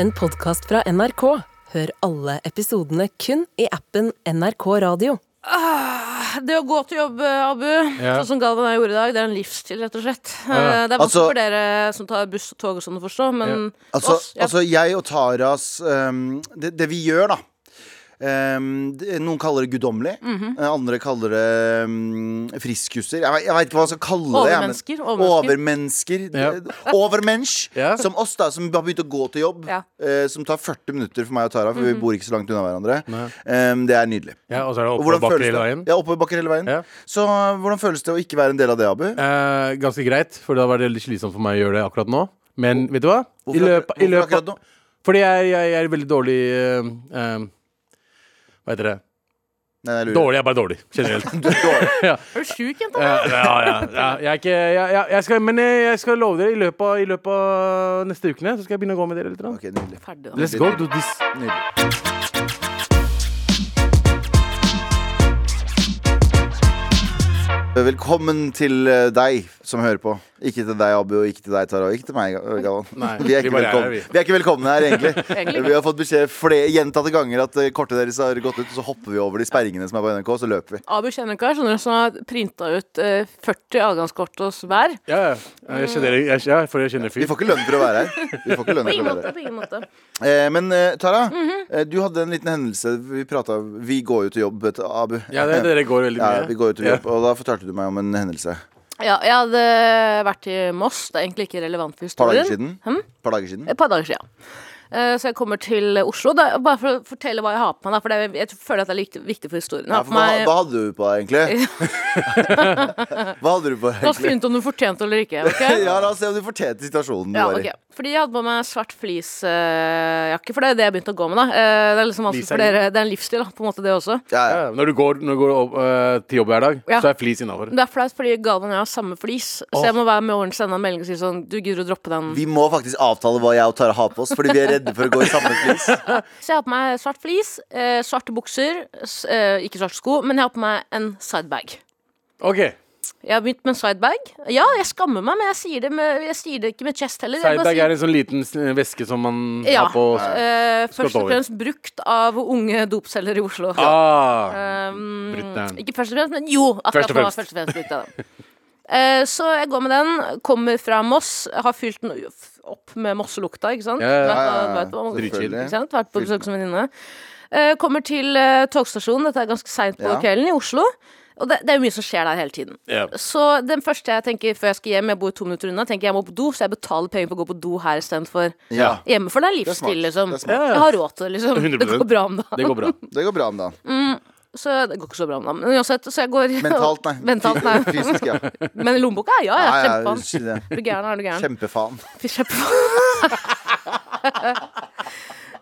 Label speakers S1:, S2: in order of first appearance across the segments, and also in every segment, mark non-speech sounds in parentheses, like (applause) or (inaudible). S1: en podkast fra NRK. Hør alle episodene kun i appen NRK Radio.
S2: Det å gå til jobb, eh, Abu,
S3: Ja.
S2: sånn som Galvan og jeg gjorde i dag, det er en livsstil, rett og slett.
S3: Ja, ja.
S2: Eh, Det er vanskelig
S4: Altså-
S2: for dere som tar buss og tog og sånn å forstå, men
S4: Altså,
S2: oss, ja.
S4: altså jeg og Taras ehm, det, det vi gjør, da ehm, det, Noen kaller det guddommelig.
S2: Mhm.
S4: eh, Andre kaller det um, friskuser. Jeg, vet- jeg veit ikke hva man skal kalle det. jeg,
S2: Overmennesker,
S4: men- Overmennesker.
S3: Ja.
S4: Det- Overmensch.
S3: Ja.
S4: Som oss, da, som har begynt å gå til jobb.
S2: Ja. Mhm.
S4: eh, som tar 40 minutter for meg og Tara, for vi bor ikke så langt unna hverandre. Ehm, det er nydelig.
S3: Ja, og så er det
S4: Og hvordan
S3: oppoverbakker hele
S4: føles det?
S3: veien.
S4: Ja, oppoverbakker hele veien.
S3: Ja.
S4: Så eh, hvordan føles det å ikke være en del av det, Abu?
S3: Eh, ganske greit, for da var det litt slitsomt for meg å gjøre det akkurat nå. Men vet du hva? I
S4: Hvorfor
S3: løpet, i
S4: hvorfor
S3: løpet
S4: akkurat nå?
S3: Fordi jeg, jeg, jeg er veldig dårlig eh, eh, Hva heter det?
S4: Nei, jeg lurer.
S3: Dårlig jeg er bare dårlig,
S4: (laughs)
S3: generelt.
S4: Du er dårlig.
S2: Er du sjuk, jenta?
S3: ja, ja, ja, ja. Jeg er ikke jeg, jeg, jeg skal, Men eh, jeg, jeg skal love dere, i løpet, av- i løpet av neste ukene Så skal jeg begynne å gå med dere litt. grann.
S4: Ok, nydelig.
S2: Ferdig, da.
S3: Let's go do this.
S4: nydelig. Velkommen til eh, deg som hører på. Ikke til deg, Abu, og ikke til deg, Tara, og ikke til meg, Gavan.
S3: Nei,
S4: (laughs) vi, er
S3: vi
S4: ikke
S3: bare er her,
S4: velkomne.
S3: vi.
S4: vi er ikke velkomne her, egentlig. (laughs)
S2: Egentlig.
S4: Vi har fått beskjed flere, gjentatte ganger at eh, kortet deres har gått ut, og så hopper vi over de sperringene som er på NRK, og så løper vi.
S2: Abu kjenner en kar skjønner du, som har printa ut eh, 40 adgangskort hos hver.
S3: Ja, ja. Jeg kjenner, jeg, ja, for jeg kjenner
S4: Vi
S3: fyr.
S4: får ikke lønn for å være her. Vi får ikke lønn
S2: På
S4: for å
S2: ingen
S4: være
S2: måte.
S4: her.
S2: på ingen måte
S4: Eh, Men eh, Tara, eh, du hadde en liten hendelse. Vi, pratet, vi går jo til jobb, vet du, Abu.
S3: Ja, det, dere går veldig mye.
S4: Ja, vi går jo til
S3: Ja.
S4: jobb, og da fortalte du meg om en hendelse.
S2: Ja, jeg hadde vært i Moss. Det er egentlig ikke relevant for
S4: Et par dager
S2: historien.
S4: siden. Et par dager siden.
S2: Et par dager siden. Eh, Så jeg kommer til Oslo. Da, bare for å fortelle hva jeg har på meg. Da, for det, er- jeg føler at det er litt viktig for historien. Jeg
S4: Ja,
S2: har på
S4: for hva,
S2: meg
S4: hva hadde du på deg,
S2: (laughs)
S4: egentlig? hva hadde du på deg,
S2: La oss
S4: egentlig?
S2: finne ut om du fortjente eller ikke. ok?
S4: (laughs) Ja, la oss se om du fortjente situasjonen du
S2: Ja,
S4: var
S2: ok
S4: i.
S2: Fordi jeg hadde på meg svart fleecejakke, for det er det jeg begynte å gå med. da Eh, Det er liksom vanskelig for dere Det er en livsstil, da, på en måte, det også.
S4: Ja,
S3: Ja,
S4: ja.
S3: når du går, når du går opp, eh, til jobb hver dag,
S2: Ja.
S3: så er flis innafor.
S2: Det er flaut, fordi Galvan og jeg har samme flis, så
S3: Åh.
S2: jeg må være med Orange sende en melding og si sånn Du gidder å droppe den?
S4: Vi må faktisk avtale hva jeg og Tara har på oss, fordi vi er redde for å gå i samme flis.
S2: Så jeg har på meg svart flis, eh, svarte bukser, s eh, ikke svarte sko, men jeg har på meg en sidebag.
S3: Ok,
S2: Jeg har begynt med en sidebag. Ja, jeg skammer meg, men jeg sier det, med, jeg sier det ikke med chest heller. Jeg bare
S3: Sidebag
S2: sier-
S3: er en sånn liten s- væske som man
S2: Ja.
S3: har på
S2: Eh, først og
S3: over.
S2: fremst brukt av unge dopselgere i Oslo.
S3: ah,
S2: Um,
S3: Brutter'n.
S2: ikke først og fremst, men jo! Akkurat
S3: Først og
S2: nå er
S3: fremst.
S2: først og fremst brukt av den. (laughs) Eh, så jeg går med den, kommer fra Moss, har fylt den opp med mosselukta, ikke sant?
S3: Ja, ja, ja,
S2: Vært
S4: ja,
S2: på- vært på-
S4: dritchill.
S2: Ikke sant? Vært på
S4: Fylt den.
S2: besøk som venninne. Eh, kommer til eh, togstasjonen, dette er ganske seint på
S4: Ja.
S2: kvelden, i Oslo. Og det, det er jo mye som skjer der hele tiden.
S3: Ja.
S2: Så den første jeg tenker før jeg skal hjem, jeg bor to minutter unna, tenker jeg må på do, så jeg betaler penger for å gå på do her istedenfor
S4: Ja,
S2: hjemme. For det er
S4: det er
S2: livsstil,
S4: smart.
S2: liksom.
S4: Det, er smart.
S3: Ja, ja.
S2: Jeg har råd til det, liksom. Det
S3: 100%.
S2: går bra om dagen.
S3: Det går bra.
S4: (laughs) det går bra om dagen.
S2: Mm. Så det går ikke så bra om dagen. Men uansett, så jeg går
S4: Mentalt, nei.
S2: (laughs) Mentalt,
S4: (laughs)
S2: nei.
S4: Fysisk, ja.
S2: Men i lommeboka, ja, ja,
S4: Nei, ja,
S2: kjempefaen.
S4: det-
S2: Er du gæren, er du gæren?
S4: Kjempefaen.
S2: Fy, kjempefaen. (laughs)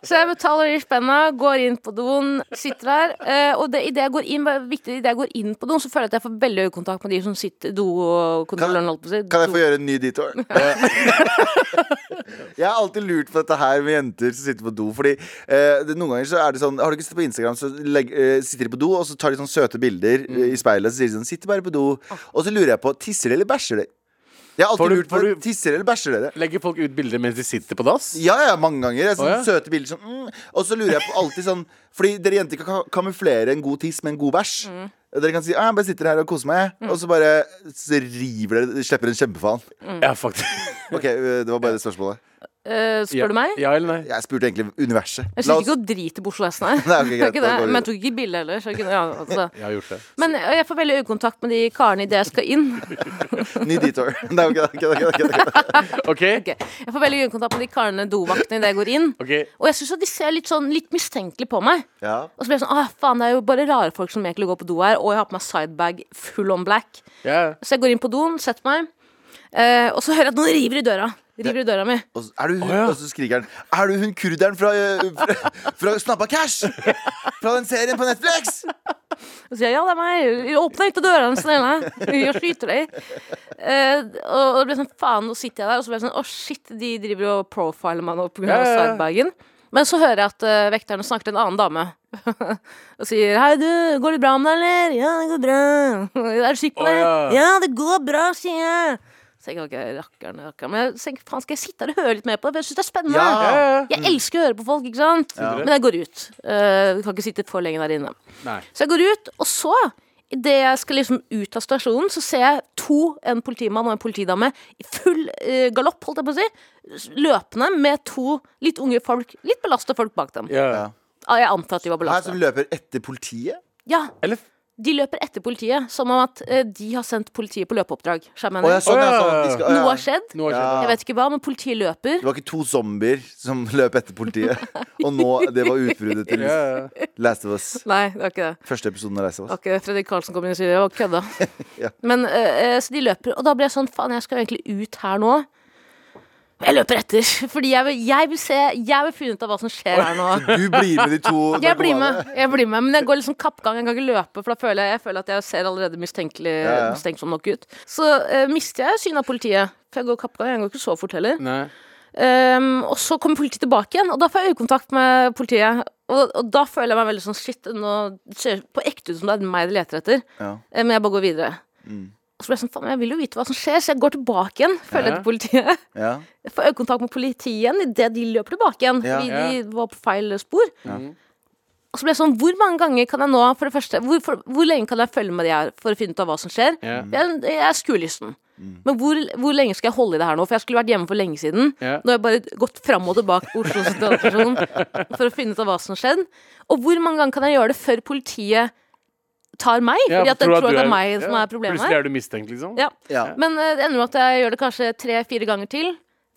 S2: Så jeg betaler de spenna, går inn på doen, sitter der. eh, Og det, i det jeg går inn, bare viktig, i det jeg går inn på doen, så føler jeg at jeg får veldig øyekontakt med de som sitter dokontrolløren, holdt på å si.
S4: Kan jeg få gjøre en ny detour? Eh, (laughs) jeg har alltid lurt på dette her med jenter som sitter på do. Fordi eh, det, Noen ganger så er det sånn Har du ikke sett på Instagram, så legg, eh, sitter de på do, og så tar de sånne søte bilder eh, i speilet. Så sier de sånn Sitter bare på do. Og så lurer jeg på Tisser de eller bæsjer de? Jeg har
S3: Får
S4: alltid
S3: du-
S4: lurt på
S3: får du-
S4: Tisser eller bæsjer dere?
S3: Legger folk ut bilder mens de sitter på dass?
S4: Ja, ja, mange ganger. Jeg, sånne
S3: Å, ja.
S4: Søte bilder sånn mm. Og så lurer jeg på alltid sånn Fordi dere jenter kan ka- kamuflere en god tiss med en god bæsj. Dere kan si ah, 'jeg bare sitter her og koser meg', og så bare så river dere Slipper en kjempefaen.
S2: Mm.
S3: Ja, faktisk.
S4: Ok, øh, Det var bare det spørsmålet.
S2: Eh,
S3: Ja.
S2: (laughs) Spør du meg?
S3: Ja eller nei?
S4: Jeg spurte egentlig universet.
S2: Jeg
S4: La
S2: synes
S4: oss-
S2: ikke å drite på Oslo S, nei.
S4: (laughs) Nei, ok,
S2: Det er
S4: greit,
S2: (laughs) ikke
S4: da
S2: det. Men jeg
S4: går vi videre.
S2: tok ikke bilde heller. Så jeg kunne, ja, altså.
S3: Jeg har gjort det.
S2: Men jeg får veldig øyekontakt med de karene idet jeg skal inn.
S4: Ny detour. (laughs) Nei, ok, ok, ok, ok, (laughs) ok.
S3: OK?
S2: Ok, Jeg får veldig øyekontakt med de karene dovaktene idet jeg går inn.
S3: ok
S2: Og jeg syns de ser litt sånn litt mistenkelig på meg.
S4: Ja.
S2: Og så blir jeg sånn ah, faen, det er jo bare rare folk som egentlig går på do her. Og jeg har på meg sidebag full on black.
S3: Ja.
S2: Så jeg går inn på doen, setter meg, eh, og så hører jeg at noen river i døra. River i døra mi.
S4: Og så, er du hun,
S3: Å, ja.
S4: og så skriker han Er du hun kurderen fra, øh, (laughs) fra, fra Snappa Cash? Fra den serien på (laughs) Netflix?
S2: Og sier jeg, ja, det er meg. Åpne ikke døra, den snille. Jeg skyter deg. Eh, og, og det blir sånn faen, nå sitter jeg der. Og så blir jeg sånn å shit, de driver og profiler meg nå pga.
S3: Ja, ja, ja.
S2: sidebagen. Men så hører jeg at eh, vekterne snakker til en annen dame. (laughs) og sier hei, du, går det bra med deg, eller? Ja, det går bra. (laughs) er du sikker på
S3: Å,
S2: det?
S3: ja.
S2: ja, det går bra, sier jeg. Så jeg kan ikke rakkeren, rakkeren. Men jeg tenker, faen, skal jeg sitte her og høre litt mer på det? For jeg syns det er spennende.
S4: Ja.
S3: Ja, ja, ja.
S2: Jeg elsker å høre på folk, ikke sant? Men jeg går ut. Eh, vi kan ikke sitte for lenge der inne.
S3: Nei.
S2: Så jeg går ut, og så, idet jeg skal liksom ut av stasjonen, så ser jeg to, en politimann og en politidame, i full eh, galopp, holdt jeg på å si, s- løpende med to litt unge folk, litt belasta folk bak dem.
S3: Ja.
S4: Ja.
S2: Ah, Jeg antar at de var
S4: Her som
S2: belasta.
S4: løper etter politiet?
S2: Ja,
S3: Eller
S2: de løper etter politiet, som om at eh, de har sendt politiet på løpeoppdrag. Skjønner
S4: Å,
S2: jeg mener.
S4: ja, sånn, ja,
S3: Å, ja,
S4: sånn.
S3: ja,
S4: De
S3: ja.
S4: skal, å,
S2: Noe
S4: ja.
S2: har skjedd.
S3: noe har skjedd.
S4: Ja.
S2: Jeg vet ikke hva, men politiet løper.
S4: Det var ikke to zombier som (laughs) løp etter politiet. Og nå, det var utbruddet (laughs) til
S3: Ja, ja, ja.
S4: Last of Us.
S2: Nei, det var ikke det.
S4: Første episoden av Last
S2: Det
S4: of Us.
S2: var ikke Fredrik Karlsen kom inn og sier det var kødda.
S4: (laughs) Ja.
S2: Men eh, eh, så de løper, og da ble jeg sånn faen, jeg skal jo egentlig ut her nå. Men Jeg løper etter, (laughs) fordi jeg vil, jeg vil se Jeg vil finne ut av hva som skjer her nå.
S4: Du blir med de (laughs) to
S2: (laughs) Jeg blir
S4: narkomane.
S2: med, jeg blir med men jeg går liksom kappgang. Jeg kan ikke løpe, for da føler jeg, jeg føler at jeg ser allerede mistenkelig
S4: Ja, ja.
S2: mistenksom nok ut. Så eh, mister jeg synet av politiet, for jeg går kappgang. Jeg går ikke så fort heller.
S3: Nei.
S2: Ehm, og så kommer politiet tilbake igjen, og da får jeg øyekontakt med politiet. Og, og da føler jeg meg veldig sånn shit. Nå ser det på ekte ut som det er meg de leter etter.
S4: Ja.
S2: Eh, Men jeg bare går videre.
S4: Mm.
S2: Og så ble jeg sånn, faen, jeg vil jo vite hva som skjer, så jeg går tilbake igjen. Følger
S3: Ja.
S2: etter politiet. (laughs)
S4: Ja.
S2: Jeg får øyekontakt med politiet igjen idet de løper tilbake igjen.
S4: Ja.
S2: Fordi
S3: Ja.
S2: de var på feil spor.
S3: Ja.
S2: Og så ble jeg sånn, hvor mange ganger kan jeg nå, for det første, hvor, for, hvor lenge kan jeg følge med de her for å finne ut av hva som skjer?
S3: Ja.
S2: Jeg, jeg er skuelysten.
S4: Mm.
S2: Men hvor, hvor lenge skal jeg holde i det her nå? For jeg skulle vært hjemme for lenge siden.
S3: Ja.
S2: Nå har jeg bare gått fram og tilbake på Oslo
S3: (laughs)
S2: sentralstasjon for å finne ut av hva som har skjedd. Og hvor mange ganger kan jeg gjøre det før politiet tar meg?
S3: Ja,
S2: fordi at
S3: du
S2: jeg tror
S3: du
S2: at det er meg som
S3: ja,
S2: er problemet
S3: Plutselig
S2: her.
S3: er du mistenkt, liksom?
S2: Ja.
S4: Ja.
S2: Men eh, det ender med at jeg gjør det kanskje tre-fire ganger til.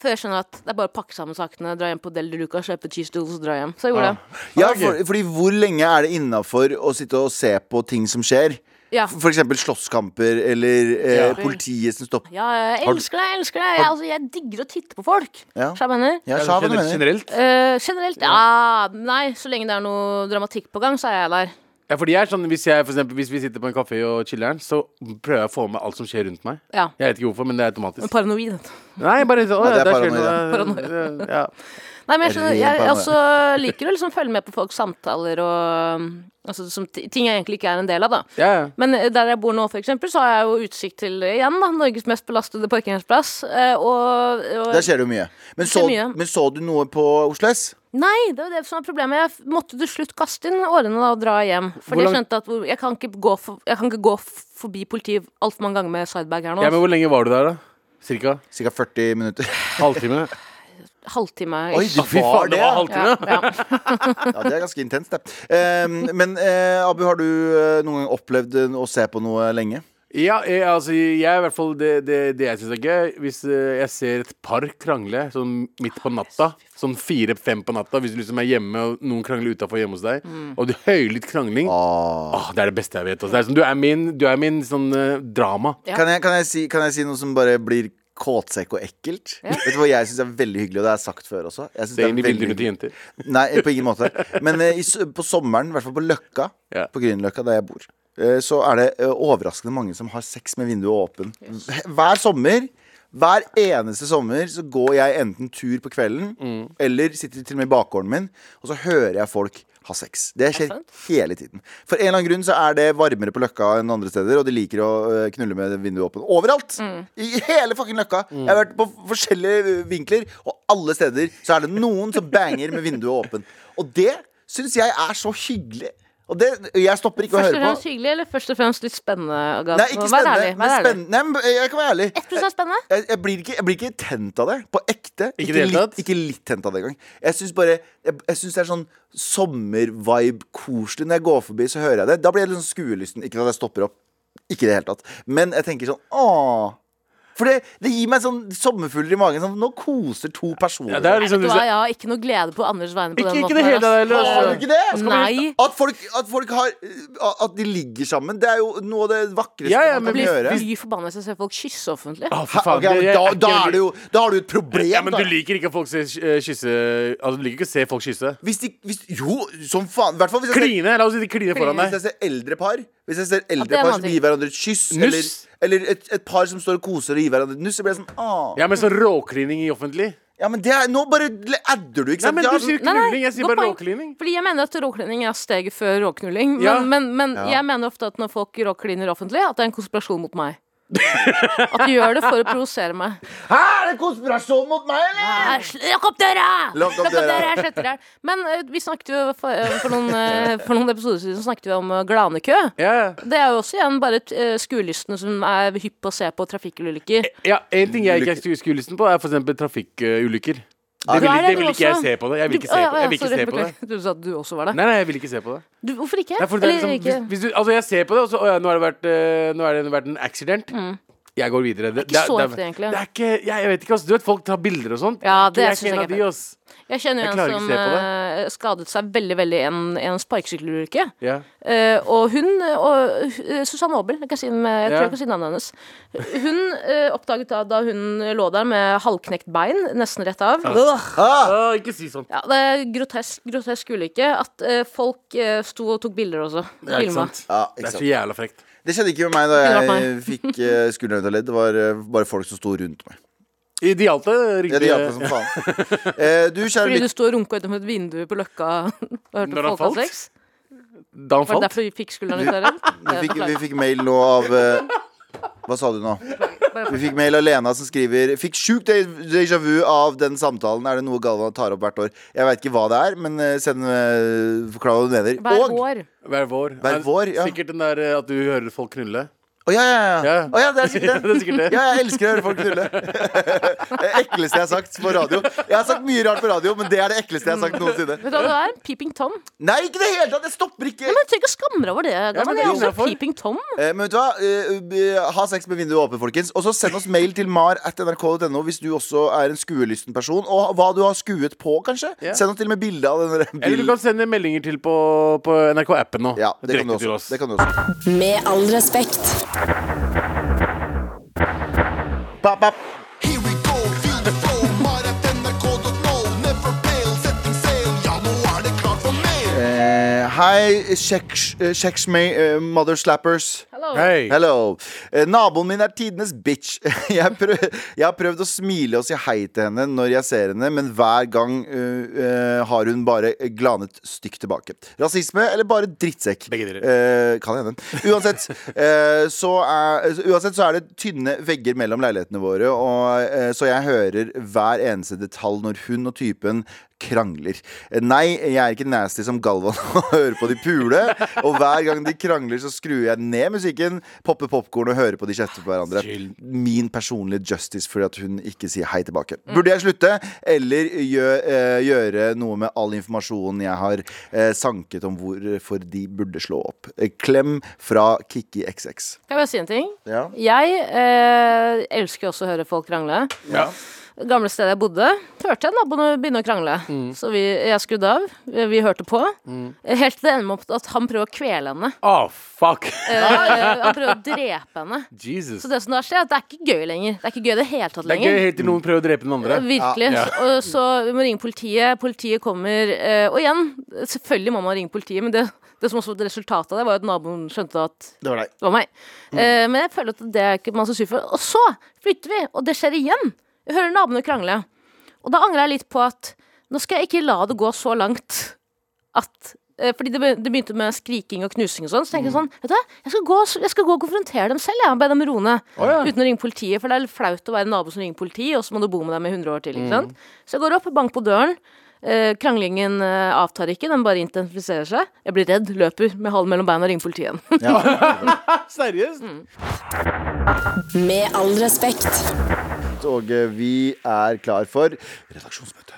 S2: Før jeg skjønner at det er bare å pakke sammen sakene, dra hjem på Del de Luca, kjøpe cheese doodles og dra hjem. Så jeg gjorde
S3: Ah.
S2: det.
S4: ja
S3: Ok.
S4: for, fordi hvor lenge er det innafor å sitte og se på ting som skjer?
S2: Ja.
S4: For eksempel slåsskamper eller eh,
S3: Ja.
S4: politiet som stopper
S2: ja, jeg
S4: Har du-
S2: elsker det, jeg elsker det. Jeg, altså, jeg digger å titte på folk.
S4: Ja.
S2: Så jeg mener.
S4: Ja,
S3: Ja,
S4: sa hva du
S3: generelt-
S4: mener.
S3: generelt.
S2: Eh, generelt? Ja, nei. Så lenge det er noe dramatikk på gang, så er jeg der.
S3: Ja, fordi jeg er sånn, hvis, jeg, for eksempel, hvis vi sitter på en kafé og chiller'n, så prøver jeg å få med alt som skjer rundt meg.
S2: Ja.
S3: Jeg vet ikke hvorfor, men det er automatisk.
S2: Paranoid.
S3: Nei, bare sånn. Å,
S4: Nei,
S3: ja,
S4: det
S3: der
S4: er
S3: skjer
S2: paranoia.
S3: noe. Ja.
S2: Nei, men jeg, skjønner, jeg, jeg
S4: Paranoid.
S2: også liker å liksom følge med på folks samtaler og um, altså, som, ti- ting jeg egentlig ikke er en del av, da.
S3: Ja.
S2: Men eh, der jeg bor nå, for eksempel, så har jeg jo utsikt til eh, igjen da, Norges mest belastede parkeringsplass. eh, Og, og
S4: Der skjer det jo mye. Men så,
S2: mye.
S4: men så du noe på Oslo S?
S2: Nei, det var det som var problemet. Jeg f- måtte til slutt kaste inn årene da, og dra hjem.
S3: Hvor
S2: Fordi jeg
S3: lang-
S2: skjønte at hvor- jeg kan ikke gå, for, jeg kan ikke gå f- forbi politiet altfor mange ganger med sidebag her nå.
S3: ja, men hvor lenge var du der, da? Cirka?
S4: Ca. 40 minutter.
S3: Halvtime?
S2: Altså, Halvtime.
S4: Oi, du
S3: Å, Fy
S4: var
S3: faen,
S4: det!
S3: det var halvtime!
S2: ja,
S4: (laughs)
S2: ja.
S4: Ja, det er ganske intenst, det. Ehm, men eh, Abu, har du eh, noen gang opplevd eh, å se på noe lenge?
S3: Ja, jeg, altså, jeg i hvert fall Det, det, det jeg syns er gøy, hvis eh, jeg ser et par krangle sånn midt på natta, sånn fire-fem på natta, hvis du liksom er hjemme og noen krangler utafor hjemme hos deg,
S2: Mm.
S3: og du høylytt krangling
S4: Ah.
S3: Åh, Det er det beste jeg vet. Altså. Det er som, du er min, du er min sånn eh, drama.
S2: Ja.
S4: Kan, jeg, kan, jeg si, kan jeg si noe som bare blir kåtsekk og ekkelt? Vet du hva jeg syns er veldig hyggelig, og det har jeg sagt før også? Jeg synes
S3: Det er inn i
S4: veldig
S3: vinduene til
S4: hyggelig.
S3: jenter.
S4: Nei, på ingen måte. Men eh, i, s- på sommeren, i hvert fall på Løkka,
S3: Ja.
S4: på Grünerløkka der jeg bor, eh, så er det eh, overraskende mange som har sex med vinduet åpen. Hver sommer. Hver eneste sommer så går jeg enten tur på kvelden, eller sitter til og med i bakgården min, og så hører jeg folk ha sex. Det skjer hele tiden. For en eller annen grunn så er det varmere på Løkka enn andre steder, og de liker å eh, knulle med vinduet åpent overalt. I hele fucking Løkka. Jeg har vært på forskjellige vinkler, og alle steder så er det noen som banger med vinduet åpent. Og det syns jeg er så hyggelig. Og det, jeg stopper ikke å
S2: Først og
S4: høre
S2: fremst
S4: på.
S2: hyggelig, eller først og fremst litt spennende? Agathe?
S4: Nei, ikke
S2: Vær
S4: spennende.
S2: ærlig.
S4: Men
S2: Vær ærlig.
S4: spennende. Nei, men jeg kan være ærlig.
S2: 1% spennende?
S4: Jeg, jeg, blir ikke, jeg blir ikke tent av det. På ekte.
S3: Ikke i det hele
S4: litt-
S3: tatt?
S4: ikke litt tent av det engang. Jeg syns bare Jeg, jeg synes det er sånn sommervibe-koselig. Når jeg går forbi, så hører jeg det. Da blir jeg litt sånn skuelysten. Ikke at jeg stopper opp. Ikke i det hele tatt. Men jeg tenker sånn Åh. For det, det gir meg sånn sommerfugler i magen. Sånn, nå koser to
S3: Ja,
S4: personer.
S3: det er
S2: Vet
S3: liksom
S2: du hva, jeg har ikke noe glede på Anders' vegne på
S3: Ikke-
S2: den
S3: ikke
S2: måten.
S3: det hele
S2: her, ass.
S3: tatt, eller?
S4: Har du ikke det?
S2: Nei.
S4: altså, At folk, at folk har At de ligger sammen, det er jo noe av det vakreste
S3: Ja,
S2: Jeg
S3: ja,
S4: man kan
S3: men
S2: blir
S4: gjøre.
S2: fly forbanna hvis jeg ser folk kysse offentlig.
S3: Å, fy
S4: Hæ,
S3: Ah, faen,
S4: ok, men
S3: det- jeg
S4: da,
S3: er
S4: da,
S3: ikke-
S4: er det jo, da har du et problem,
S3: Ja, men
S4: da.
S3: du liker ikke at folk ser, eh, kysse Altså, du liker ikke å se folk kysse.
S4: Hvis de hvis, Jo, som faen. I hvert fall hvis jeg,
S3: Kline! La oss si de kliner
S4: ser,
S3: foran
S4: hvis
S3: deg.
S4: jeg ser eldre par. Hvis jeg ser
S2: det
S4: eldre
S2: er
S4: par
S2: en
S4: som
S2: annen
S4: gir hverandre et kyss,
S3: Nuss.
S4: eller, eller et, et par som står og koser og gir hverandre et nuss, så blir jeg sånn ah. ja.
S3: Ja, men så råklining i offentlig.
S4: men det er, Nå bare adder du, ikke
S3: Nei,
S4: sant?
S3: men
S4: Ja,
S3: du sier
S2: sånn- Nei, nei,
S3: knulling. Jeg sier
S2: godt
S3: bare
S2: poeng.
S3: råklining.
S2: Fordi jeg mener at råklining er steget før råknulling. Men,
S3: Ja.
S2: men, men
S4: Ja.
S2: jeg mener ofte at når folk råkliner offentlig, at det er en konspirasjon mot meg. At du gjør det for å provosere meg.
S4: Hæ, er det konspirasjon mot meg, eller?
S2: Æsj, Lukk opp døra!
S4: Lukk opp døra.
S2: jeg sletter deg. Men eh, vi snakket jo for, eh, for, noen, eh, for noen episoder siden så snakket vi om eh, glanekø.
S3: Ja, ja.
S2: Det er jo også igjen bare eh, skuelystne som er hypp på å se på trafikkulykker.
S3: Ja, En ting jeg ikke er skuelysten på, er for eksempel trafikkulykker.
S4: Ja,
S3: Det
S2: du
S3: vil,
S2: er
S3: ikke-
S2: det,
S3: det vil
S2: du
S3: ikke jeg
S2: også.
S3: se på. det Jeg vil ikke
S2: Du-
S3: se
S2: å, ja,
S3: på, jeg
S2: ja,
S3: vil ikke
S2: sorry,
S3: se på det.
S2: beklager. Du sa at du også var det.
S3: Nei, nei, jeg vil ikke se på det.
S2: Du, hvorfor ikke?
S3: Nei, for det er
S2: Eller
S3: liksom,
S2: ikke?
S3: hvis, hvis du, altså, jeg ser på det, og så Å ja, nå har det vært, eh, nå er det vært en accident. Jeg går videre. Det,
S2: Mm. ikke så
S3: det,
S2: heftig, egentlig.
S3: Det er ikke, jeg, jeg vet ikke, ass. Du vet, folk tar bilder og sånt.
S2: Ja, det
S3: jeg er
S2: synes
S3: ikke en
S2: jeg
S3: av
S2: er
S3: de, ass.
S2: Jeg kjenner
S3: Jeg
S2: jo
S3: klarer
S2: en
S3: ikke å
S2: som
S3: se på
S2: eh, skadet seg veldig veldig i en, i en sparkesykkelulykke.
S3: Ja.
S2: Eh, og hun og eh, Susanne Aabel, jeg, kan si, den, jeg
S3: Ja.
S2: tror jeg kan si navnet hennes. Hun eh, oppdaget da, da hun lå der med halvknekt bein, nesten rett av
S4: Ah,
S3: Å, ikke si sånn.
S2: ja, Det er grotesk, grotesk ulykke at eh, folk eh, sto og tok bilder også.
S3: Det er, ikke
S2: Filma.
S3: sant?
S4: ja,
S3: det
S4: ikke
S3: er
S4: sant.
S3: så jævla frekt.
S4: Det skjedde ikke med meg da
S2: Kunne vært
S4: jeg fikk eh, skulderen ut av ledd. Det var eh, bare folk som sto rundt meg.
S3: I de gjaldt det
S4: Ja,
S3: riktig.
S4: de hjalp meg som faen. Eh, Du, kjære
S2: Fordi
S4: lytter
S2: du sto og runka utenfor et vindu på Løkka og hørte
S3: (laughs) Når han
S2: folk ha
S3: falt?
S2: sex?
S3: Da han
S2: Var det
S3: falt?
S2: derfor vi fikk skulderen ut av
S3: (laughs)
S2: den?
S4: vi fikk, vi fikk mail nå av eh, Hva sa du nå? Vi fikk mail av Lena som skriver Fikk sjukt dé- déjà vu av den samtalen. Er det noe Galvan tar opp hvert år? Jeg veit ikke hva det er, men eh, send eh, Forklar hva du mener.
S2: Hver
S4: Og
S2: vår.
S3: Hver vår.
S4: Hver vår, ja.
S3: Sikkert den der eh, at du hører folk knulle. (laughs)
S4: Å ja, ja, ja.
S3: Ja.
S4: Å, ja, det er
S3: Ja,
S4: sikkert
S3: det
S4: det.
S3: er sikkert det.
S4: Ja, jeg elsker å høre folk knulle. (laughs) Det ekleste jeg har sagt på radio. Jeg har sagt mye rart på radio, men det er det ekleste jeg har sagt noensinne.
S2: Vet du hva det er? Peeping Tom.
S4: Nei, ikke i det hele tatt! Jeg stopper ikke.
S2: Men jeg trenger ikke å skamme deg over det. Galvan.
S3: det er
S2: Jeg er også
S3: innenfor.
S2: Peeping Tom.
S4: Eh, Men vet du hva? Eh, eh, Ha sex med vinduet åpent, folkens. Og så send oss mail til mar at nrk.no hvis du også er en skuelysten person. Og hva du har skuet på, kanskje.
S3: Ja.
S4: Send oss til og med bilde av den der
S3: Eller du
S4: bilen.
S3: kan sende meldinger til på, på NRK-appen nå.
S4: Ja, det kan, du
S3: Direkte til
S4: også.
S3: oss.
S4: det kan du også.
S1: Med all respekt.
S4: Ba, ba.
S5: Here we go, feel the flow. Mar.nrk.no, never fail, setting sail. Ja, nå er det klart for mer.
S4: Eh, Hei, kjeks- eh, kjeks meg, eh, mother slappers.
S2: Hello.
S3: Hei.
S4: Hello. Eh, Naboen min er tidenes bitch. (laughs) Jeg, prøv, jeg har prøvd å smile og si hei til henne når jeg ser henne, men hver gang eh, eh, har hun bare glanet stygt tilbake. Rasisme eller bare drittsekk?
S3: Begge deler.
S4: Eh, kan hende. Uansett, eh, så er, uansett så er det tynne vegger mellom leilighetene våre, og, eh, så jeg hører hver eneste detalj når hun og typen krangler. Eh, Nei, jeg er ikke nasty som Galvan (laughs) og hører på de pule, og hver gang de krangler så skrur jeg ned musikken, popper popcorn og hører på de kjefter på hverandre.
S3: Chill.
S4: Min personlige justice fordi at hun ikke sier hei tilbake. Burde jeg slutte, eller gjø- eh, gjøre noe med all informasjonen jeg har eh, sanket om hvorfor de burde slå opp? Eh, Klem fra Kikki XX.
S2: Kan jeg bare si en ting?
S4: Ja.
S2: Jeg eh, elsker også å høre folk krangle.
S3: Ja.
S2: Gamle stedet jeg bodde, hørte jeg naboene begynne å krangle.
S3: Mm.
S2: Så vi, jeg skrudde av. Vi, vi hørte på. Helt til det ender med at han prøver å kvele
S3: (laughs)
S2: henne.
S3: Å, Ah, fuck.
S2: Eh, han prøver å drepe henne.
S3: Jesus.
S2: Så det som da skjer, er at det er ikke gøy lenger. Det er ikke gøy i det hele tatt
S3: Det er gøy
S2: lenger.
S3: helt til noen prøver å drepe den andre.
S2: Eh, Virkelig.
S3: Ja.
S2: Og så vi må ringe politiet. Politiet kommer. eh, Og igjen, selvfølgelig må man ringe politiet, men det, det som også var resultatet av det, var jo at naboen skjønte at
S4: Det var deg. Mm.
S2: det var meg. Eh, men jeg føler at det er ikke man så sur for. Og så flytter vi, og det skjer igjen. Jeg hører naboene krangle. Og da angrer jeg litt på at nå skal jeg ikke la det gå så langt at eh, fordi det, be- det begynte med skriking og knusing og sånn. Så tenker
S4: Mm.
S2: jeg sånn Vet du hva, jeg skal gå, og s- jeg skal gå og konfrontere dem selv, jeg. og Be dem roe ned.
S3: Å, ja.
S2: Uten å ringe politiet, for det er litt flaut å være en nabo som ringer politiet, og så må du bo med dem i 100 år til.
S4: Mm.
S2: Ikke sant? Så jeg går opp, banker på døren. Eh, kranglingen eh, avtar ikke, den bare intensifiserer seg. Jeg blir redd, løper med halen mellom beina og ringer politiet igjen.
S3: Seriøst?
S2: Mm.
S1: Med all respekt.
S4: Og eh, vi er klar for redaksjonsmøte.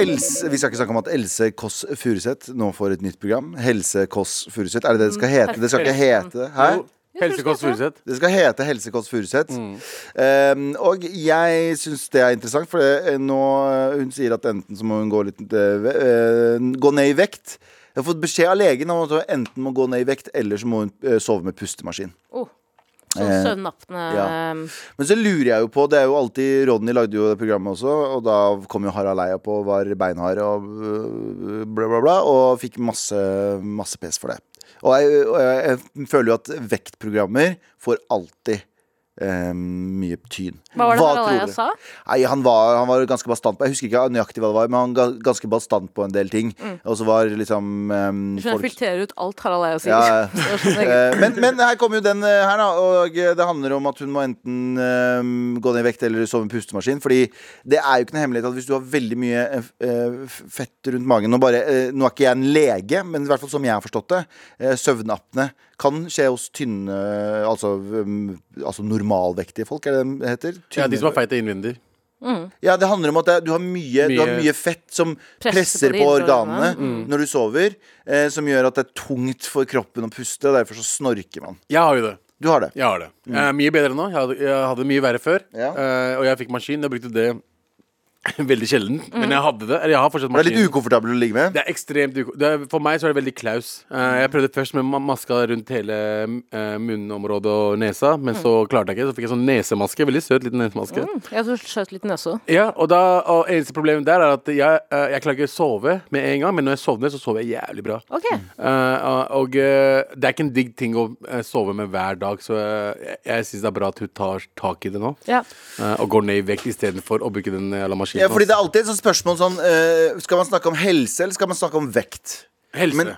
S4: Else, vi skal ikke snakke om at Else Kåss Furuseth nå får et nytt program. Helse Kåss Furuseth. Er det det det skal hete? Det skal ikke hete det. Hæ?
S3: Jo, Helsekost Furuseth.
S4: Det skal hete Helse Kåss Furuseth. Um, og jeg syns det er interessant, for det, eh, nå, eh, hun sier at enten så må hun gå, litt, eh, ve- eh, gå ned i vekt. Jeg har fått beskjed av legen om at hun enten må gå ned i vekt, eller så må hun eh, sove med pustemaskin.
S2: (laughs) Oh. Sånn
S4: Eh,
S2: søvnapne
S4: ja.
S2: ehm,
S4: Men så lurer jeg jo på, det er jo alltid Rodney lagde jo det programmet også, og da kom jo Harald Eia på og var beinhard og øh, bla, bla, bla, og fikk masse, masse pes for det. Og jeg, og jeg, jeg føler jo at vektprogrammer får alltid eh, mye tyn.
S2: Hva var det
S4: Hva
S2: Harald
S4: tror
S2: Eia
S4: dere?
S2: sa?
S4: Nei, han var, han var ganske bastant på Jeg husker ikke nøyaktig hva det var, men han var ganske bastant på en del ting. Og så var liksom ehm,
S2: Mm. Du skjønner, jeg filtrerer ut alt Harald Eia sier. (laughs)
S4: Ja, ja.
S2: Så skjønner jeg ikke.
S4: Eh, men, men her kommer jo den eh, her, da. Og det handler om at hun må enten eh, gå ned i vekt eller sove med pustemaskin. Fordi det er jo ikke noe hemmelighet at hvis du har veldig mye eh, f- eh, f- fett rundt magen Nå, bare, eh, nå er ikke jeg en lege, men i hvert fall som jeg har forstått det, eh, søvnapne kan skje hos tynne Altså, um, altså normalvektige folk, er det det heter?
S3: Ja, de som
S4: Tynne-
S3: er feite innvendig.
S4: ja, det handler om at det- du har mye, du har
S3: Mye- Mm.
S4: mye fett som presser,
S2: Presser på
S4: på,
S2: de indre
S4: organene
S2: organene.
S4: når du sover. Eh, som gjør at det er tungt for kroppen å puste, og derfor så snorker man.
S3: Jeg har jo det.
S4: Du har det.
S3: Jeg har det. Jeg er mye bedre nå. Jeg hadde, jeg hadde det mye verre før.
S4: Mm. Ja.
S3: Eh, og jeg fikk maskin. Jeg brukte det (laughs) veldig sjelden.
S2: Mm.
S3: Men jeg hadde det. Eller jeg har fortsatt
S4: Det er
S3: maskin.
S4: litt ukomfortabelt å ligge med.
S3: Det er ekstremt uko... Det er, for meg så er det veldig klaus. Eh, jeg prøvde først med ma- maska rundt hele eh, munnområdet og nesa, men så klarte jeg ikke. Så fikk jeg sånn nesemaske. Veldig søt liten nesemaske.
S2: Mm, Jeg tror du skjøt litt nese òg.
S3: Ja, og, da, og eneste problemet der er at jeg, eh, jeg klarer ikke å sove med en gang, men når jeg sovner, så sover jeg jævlig bra.
S2: OK.
S4: Mm.
S3: Eh, og eh, det er ikke en digg ting å eh, sove med hver dag, så eh, jeg, jeg syns det er bra at hun tar tak i det nå.
S2: Ja.
S3: eh, og går ned i vekt istedenfor å bruke den jævla maskinen.
S4: Ja, fordi det er alltid et sånt spørsmål sånn eh, Skal man snakke om helse, eller skal man snakke om vekt?
S3: Helse.
S4: men-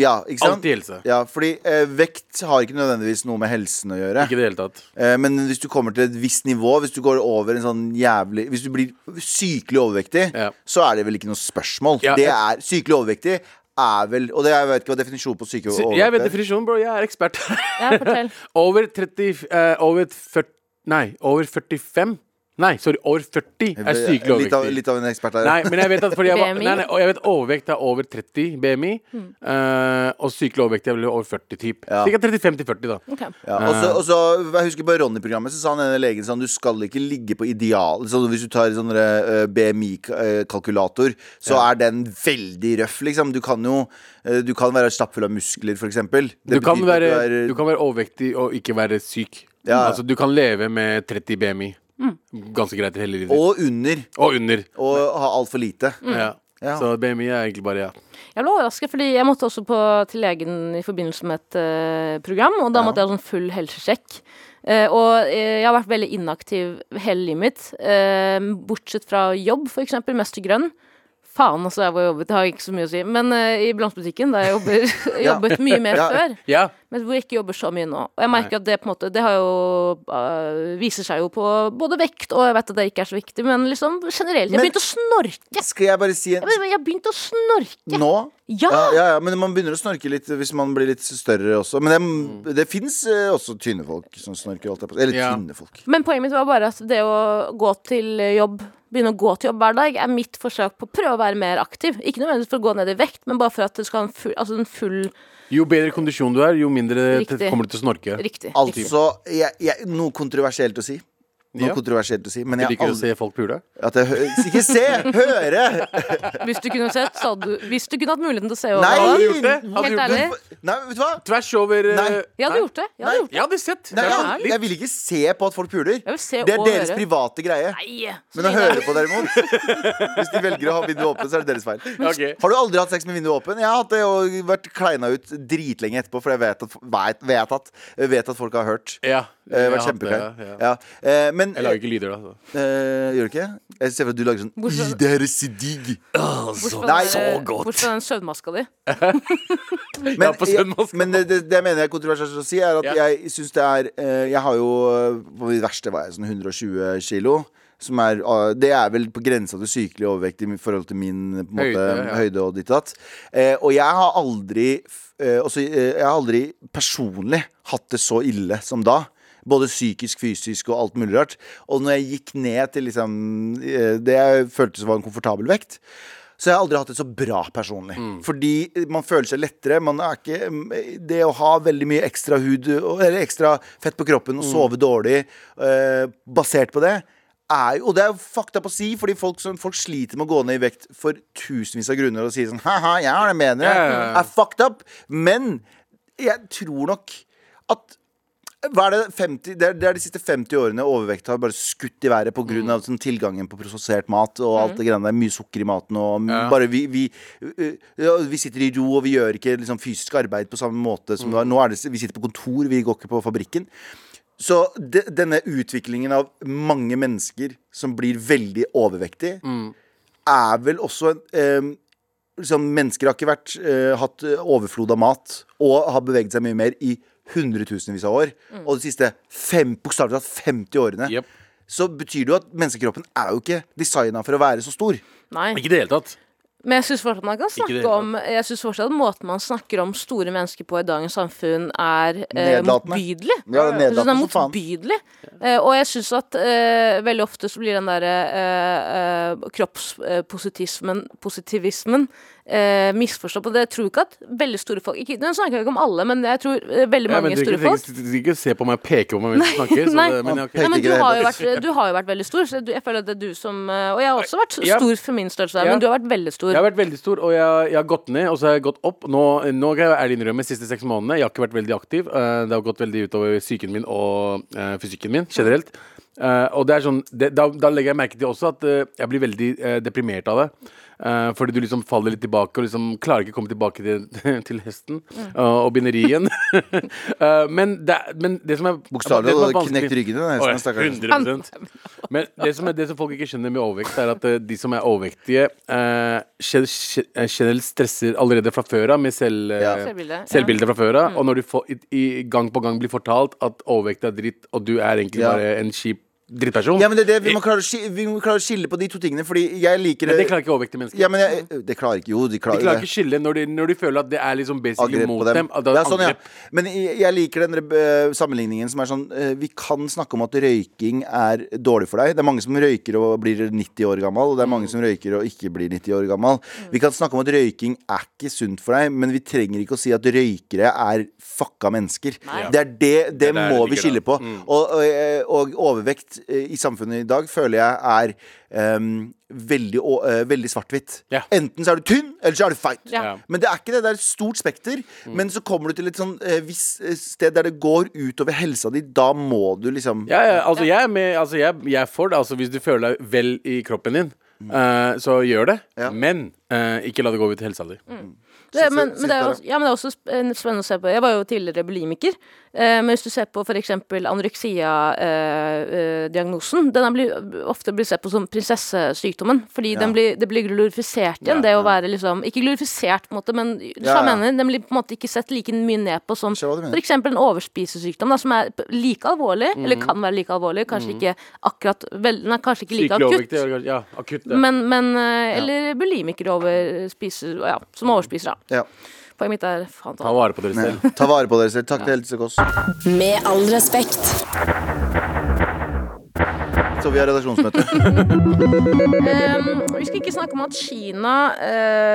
S4: Ja, ikke sant?
S3: Alltid helse.
S4: Ja, fordi eh, vekt har ikke nødvendigvis noe med helsen å gjøre.
S3: Ikke i det hele tatt.
S4: Eh, men hvis du kommer til et visst nivå, hvis du går over en sånn jævlig Hvis du blir sykelig overvektig,
S3: Ja.
S4: så er det vel ikke noe spørsmål.
S3: Ja,
S4: det
S3: jeg-
S4: er Sykelig overvektig er vel Og det, jeg vet ikke hva definisjonen på sykelig
S3: Så jeg vet
S4: overvektig er.
S3: definisjonen, bro. Jeg er ekspert. (laughs)
S2: ja,
S4: (laughs)
S2: fortell.
S3: over 30 eh, Over 40 Nei, over 45 Nei, sorry, over 40 er sykelig
S4: Litt av,
S3: overvektig.
S4: litt av en ekspert her.
S3: Nei, men jeg vet at fordi jeg
S2: (laughs)
S3: var,
S2: BMI?
S3: nei, nei, og jeg vet overvekt er over 30 BMI.
S2: Mm.
S3: eh, og sykelig overvektig er vel over 40 typ.
S4: Ja.
S3: Cirka 35 til 40, da.
S2: Ok.
S4: Ja, og
S3: Eh.
S4: så, og så, jeg husker på Ronny-programmet Så sa han denne legen sånn, Du skal ikke ligge på ideal Så Hvis du tar sånn BMI-kalkulator Så er den veldig røff liksom. Du kan jo eh, Du kan være stappfull av muskler for eksempel
S3: Du
S4: Det
S3: kan,
S4: betyr
S3: være,
S4: at
S3: du kan være overvektig og ikke være syk.
S4: Ja.
S3: Altså, du kan leve med 30 BMI.
S2: Mm.
S3: Ganske greit hele livet ditt.
S4: Og under
S3: Og under.
S4: Og ha alt for lite
S2: Mm.
S3: Ja.
S4: Ja.
S3: Så BMI er egentlig bare ja.
S2: Jeg ble overrasket, fordi jeg måtte også på, til legen i forbindelse med et eh, program, og da
S4: Ja.
S2: måtte jeg ha sånn full helsesjekk. Eh, og eh, jeg har vært veldig inaktiv hele livet mitt, eh, bortsett fra jobb, for eksempel, mest til grønn. Faen, altså, jeg var jobbet, det har ikke så mye å si. Men eh, i blomsterbutikken, der jeg
S4: (laughs)
S2: jobber,
S4: Ja.
S2: jobbet mye mer
S4: (laughs) Ja.
S2: før,
S3: ja.
S2: men hvor jeg ikke jobber så mye nå. Og jeg merker at det på en måte, det har jo, eh, viser seg jo på både vekt, og jeg vet at det ikke er så viktig, men liksom generelt. Jeg
S4: Men-
S2: begynte å snorke!
S4: Skal jeg bare si en,
S2: Jeg begynte- Jeg begynte å snorke!
S4: Nå
S2: Ja!
S4: ja, ja, ja, men man begynner å snorke litt hvis man blir litt større også Men det, det finnes eh, også tynne folk som snorker holdt jeg på å si. Eller
S3: Mm. Ja.
S4: tynne folk
S2: Men poenget mitt var bare at det å gå til jobb Begynne å gå til jobb hver dag er mitt forsøk på å prøve å være mer aktiv. Ikke nødvendigvis for å gå ned i vekt, men bare for at det skal ha en full, altså en full
S3: Jo bedre kondisjon du er, jo mindre
S2: Riktig.
S3: t- kommer du til å snorke.
S2: riktig. riktig.
S4: Altså, jeg, jeg, noe kontroversielt å si Noe
S3: Ja.
S4: kontroversielt å si Men
S3: Jeg liker
S4: jeg har
S3: å
S4: aldri
S3: se folk pule.
S4: At jeg hø ikke se! Høre!
S2: Hvis du kunne sett, sa du Hvis du kunne hatt muligheten til å se over
S4: Nei!
S2: alle,
S3: gjort det? Hadde
S2: Helt
S3: gjort
S2: ærlig.
S4: Nei, vet du hva?
S3: Tvers over eh,
S4: Nei.
S2: Jeg hadde
S3: nei.
S2: gjort det. Jeg hadde
S4: Nei.
S2: gjort det.
S3: Jeg hadde sett. Det
S4: Nei,
S3: er
S4: jeg,
S3: sånn litt-
S4: jeg vil ikke se på at folk puler.
S2: Jeg vil se
S4: Det er
S2: og
S4: deres
S2: høre.
S4: private greie.
S2: Nei! Så
S4: Men å
S2: lenge det
S4: høre
S2: er-
S4: på, derimot Hvis de velger å ha vinduet åpent, så er det deres feil.
S3: Ok.
S4: Har du aldri hatt sex med vinduet åpent? Jeg har hatt det og vært kleina ut dritlenge etterpå, for jeg vet at, vet, vet at, vet at folk har hørt.
S3: Ja.
S4: Eh,
S3: jeg
S4: vært
S3: hadde det,
S4: kjempeklein.
S3: ja.
S4: Ja. Eh, Men
S3: Jeg lager ikke lyder, da. så.
S4: eh, Gjør du ikke? Jeg ser for at du lager sånn
S2: Hvorfor-
S4: «Ih, Det her er så digg.
S2: Bortsett
S4: Nei,
S2: fra den-
S4: så
S2: bortsett fra den søvnmaska di.
S4: Men,
S3: (laughs) Ja, på søndagskamp.
S4: men det, det, det jeg mener jeg er kontroversielt å si, er at
S3: Ja.
S4: jeg syns det er eh, Jeg har jo eh, På mitt verste var jeg sånn 120 kilo. Som er, ah, det er vel på grensa til sykelig overvekt i forhold til min på en måte, høyde,
S3: Høyde, ja.
S4: og ditt og datt. Eh, og jeg har aldri f- eh, også, eh, Jeg har aldri personlig hatt det så ille som da. Både psykisk, fysisk og alt mulig rart. Og når jeg gikk ned til liksom, eh, det jeg følte som var en komfortabel vekt, så jeg har aldri hatt det så bra personlig. Fordi man føler seg lettere. Man er ikke, mm, det å ha veldig mye ekstra hud eller ekstra fett på kroppen og sove dårlig eh, basert på det er jo, og det er jo fucked up å si, fordi folk, som, folk sliter med å gå ned i vekt for tusenvis av grunner og sier sånn ha-ha, jeg har det med dere.
S3: Ja, ja, ja.
S4: Er fucked up. Men jeg tror nok at hva er det, 50, det, er, det er de siste 50 årene overvekt har bare skutt i været pga. av
S3: Mm.
S4: sånn tilgangen på prosessert mat og alt det greiene der. Mye sukker i maten og m-
S3: Ja.
S4: bare vi, vi, øh, ja, vi sitter i ro og vi
S3: Mm.
S4: gjør ikke liksom, fysisk arbeid på samme måte som det var. Nå er det, vi sitter på kontor, vi går ikke på fabrikken. Så de, denne utviklingen av mange mennesker som blir veldig overvektige, er vel også en eh, liksom, Mennesker har ikke vært, eh, hatt eh, overflod av mat og har beveget seg mye mer i hundretusenvis av år. Og de siste fem, bokstavelig talt 50 årene.
S3: Jep.
S4: Så betyr det jo at menneskekroppen er jo ikke designa for å være så stor.
S2: Nei.
S3: Ikke i det hele tatt.
S2: Men jeg syns fortsatt man kan
S3: det
S2: snakke
S3: hele
S2: om Jeg synes fortsatt måten man snakker om store mennesker på i dagens samfunn, er eh,
S4: Nedlatende.
S2: motbydelig.
S4: Ja, det
S2: Jeg
S4: er
S2: synes det er
S4: nedlatende som faen.
S2: motbydelig. Eh, og jeg syns at eh, veldig ofte så blir den derre eh, eh, kroppspositivismen positivismen, eh, misforstått. Og det tror jeg ikke at veldig store folk ikke, Nå snakker jeg ikke om alle, men jeg tror eh, veldig
S3: Ja,
S2: mange
S3: men du
S2: store
S3: trenger
S2: folk
S3: ikke- du trenger ikke se på meg og peke på meg mens du snakker. Så
S2: nei.
S3: det, men, ja, ok.
S4: Peke
S2: Nei, men
S4: ikke
S2: du
S4: det
S2: har, jo
S4: hele
S2: vært, eh, du har jo vært veldig stor, så du, jeg føler at det er du som eh, Og jeg har også vært s-
S3: Ja.
S2: stor for min størrelse,
S3: Ja.
S2: men du har vært veldig stor.
S3: Jeg har vært veldig stor, og jeg, jeg har gått ned, og så har jeg gått opp. Nå, nå er det innrømme, de siste seks månedene. Jeg har ikke vært veldig aktiv. Eh, det har gått veldig utover psyken min og eh, fysikken min generelt. Eh, og det er sånn, det, da, da legger jeg merke til også at eh, jeg blir veldig eh, deprimert av det. Eh, fordi du liksom faller litt tilbake og liksom klarer ikke å komme tilbake til, (laughs) til hesten eh, og binderien. (laughs) Eh, men, det, men det som er
S4: Bokstavelig
S3: det som er
S4: talt
S3: vanskelig-
S4: knekt ryggen din.
S3: Åh,
S4: Nesten,
S3: ja,
S4: stakkars.
S3: 100% Men det som, er, det som folk ikke skjønner med overvekt, er at eh, de som er overvektige, eh, gen- gen- eh, generelt stresser allerede fra før av med selv, eh,
S4: Ja.
S2: Selvbilde, ja. Mm.
S3: selvbilde fra før av. Og når du får, i, i, gang på gang blir fortalt at overvekt er dritt, og du er egentlig
S4: Ja.
S3: bare en kjip drittperson
S4: Ja, men det er det, vi må, klare å, ski- vi må klare å skille på de to tingene, fordi jeg liker
S3: Men det klarer ikke overvektige mennesker.
S4: Ja, men jeg, det klarer ikke Jo, de
S3: De
S4: klarer,
S3: klarer
S4: det.
S3: ikke skille når de, når de føler at det er liksom basically
S4: Angrep
S3: mot
S4: på
S3: dem.
S4: dem.
S3: at det er
S4: Ja, sånn, ja.
S3: angrep.
S4: Men jeg jeg liker den eh, sammenligningen som er sånn eh, Vi kan snakke om at røyking er dårlig for deg. Det er mange som røyker og blir 90 år gammel, og det er mange som røyker og ikke blir 90 år gammel. Vi kan snakke om at røyking er ikke sunt for deg, men vi trenger ikke å si at røykere er fucka mennesker. Det er det, det,
S3: er der
S4: må
S3: det Mm.
S4: vi
S3: ligger,
S4: skille
S3: da.
S4: på. Og, og, eh, og overvekt eh, i samfunnet i dag føler jeg er em, veldig, å- eh, veldig svart-hvitt.
S3: Ja.
S4: Enten så er du tynn, eller så er du feit.
S2: Ja.
S4: Men det er ikke det. Det er et stort spekter.
S3: Mm.
S4: Men så kommer du til et sånn eh, visst eh, sted der det går utover helsa di. Da må du liksom
S3: Ja, ja, altså jeg er med altså jeg, jeg er for det. Altså hvis du føler deg vel i kroppen din, eh, så gjør det.
S4: Mm. Ja.
S3: Men eh, ikke la det gå ut til helsa di.
S2: Mm. Det, men,
S4: Sitt-
S2: men, det er,
S4: sitt
S2: også- ja, men det er også sp- eh, spennende å se på. Jeg var jo tidligere bulimiker. Eh, men hvis du ser på f.eks. anoreksia-diagnosen, eh, diagnosen, den er blir ofte blir sett på som prinsessesykdommen. Fordi den blir, det blir glorifisert igjen, det å være liksom Ikke glorifisert, på en måte, men du
S4: Ja,
S2: sa
S4: ja.
S2: mener, den blir på en måte ikke sett like mye ned på som
S4: skjønner hva du mener.
S2: f.eks. en overspisesykdom, da, som er p- like alvorlig, eller
S4: Mhm.
S2: kan være like alvorlig, kanskje ikke akkurat vel, Nei, kanskje ikke like
S3: Sykelig overvektig.
S2: akutt.
S3: eller- Ja, akutt. ja.
S2: Men, men eh, Eller bulimiker over spiser, ja, som overspiser, da.
S4: Ja.
S2: Poenget mitt er faen ta
S3: Ta vare på dere
S4: Ja.
S3: selv.
S4: Ta vare på dere selv. Takk til Else Kåss.
S1: Med all respekt.
S4: Så vi har redaksjonsmøte.
S2: Ehm,
S3: (laughs)
S2: Vi skal ikke snakke om at Kina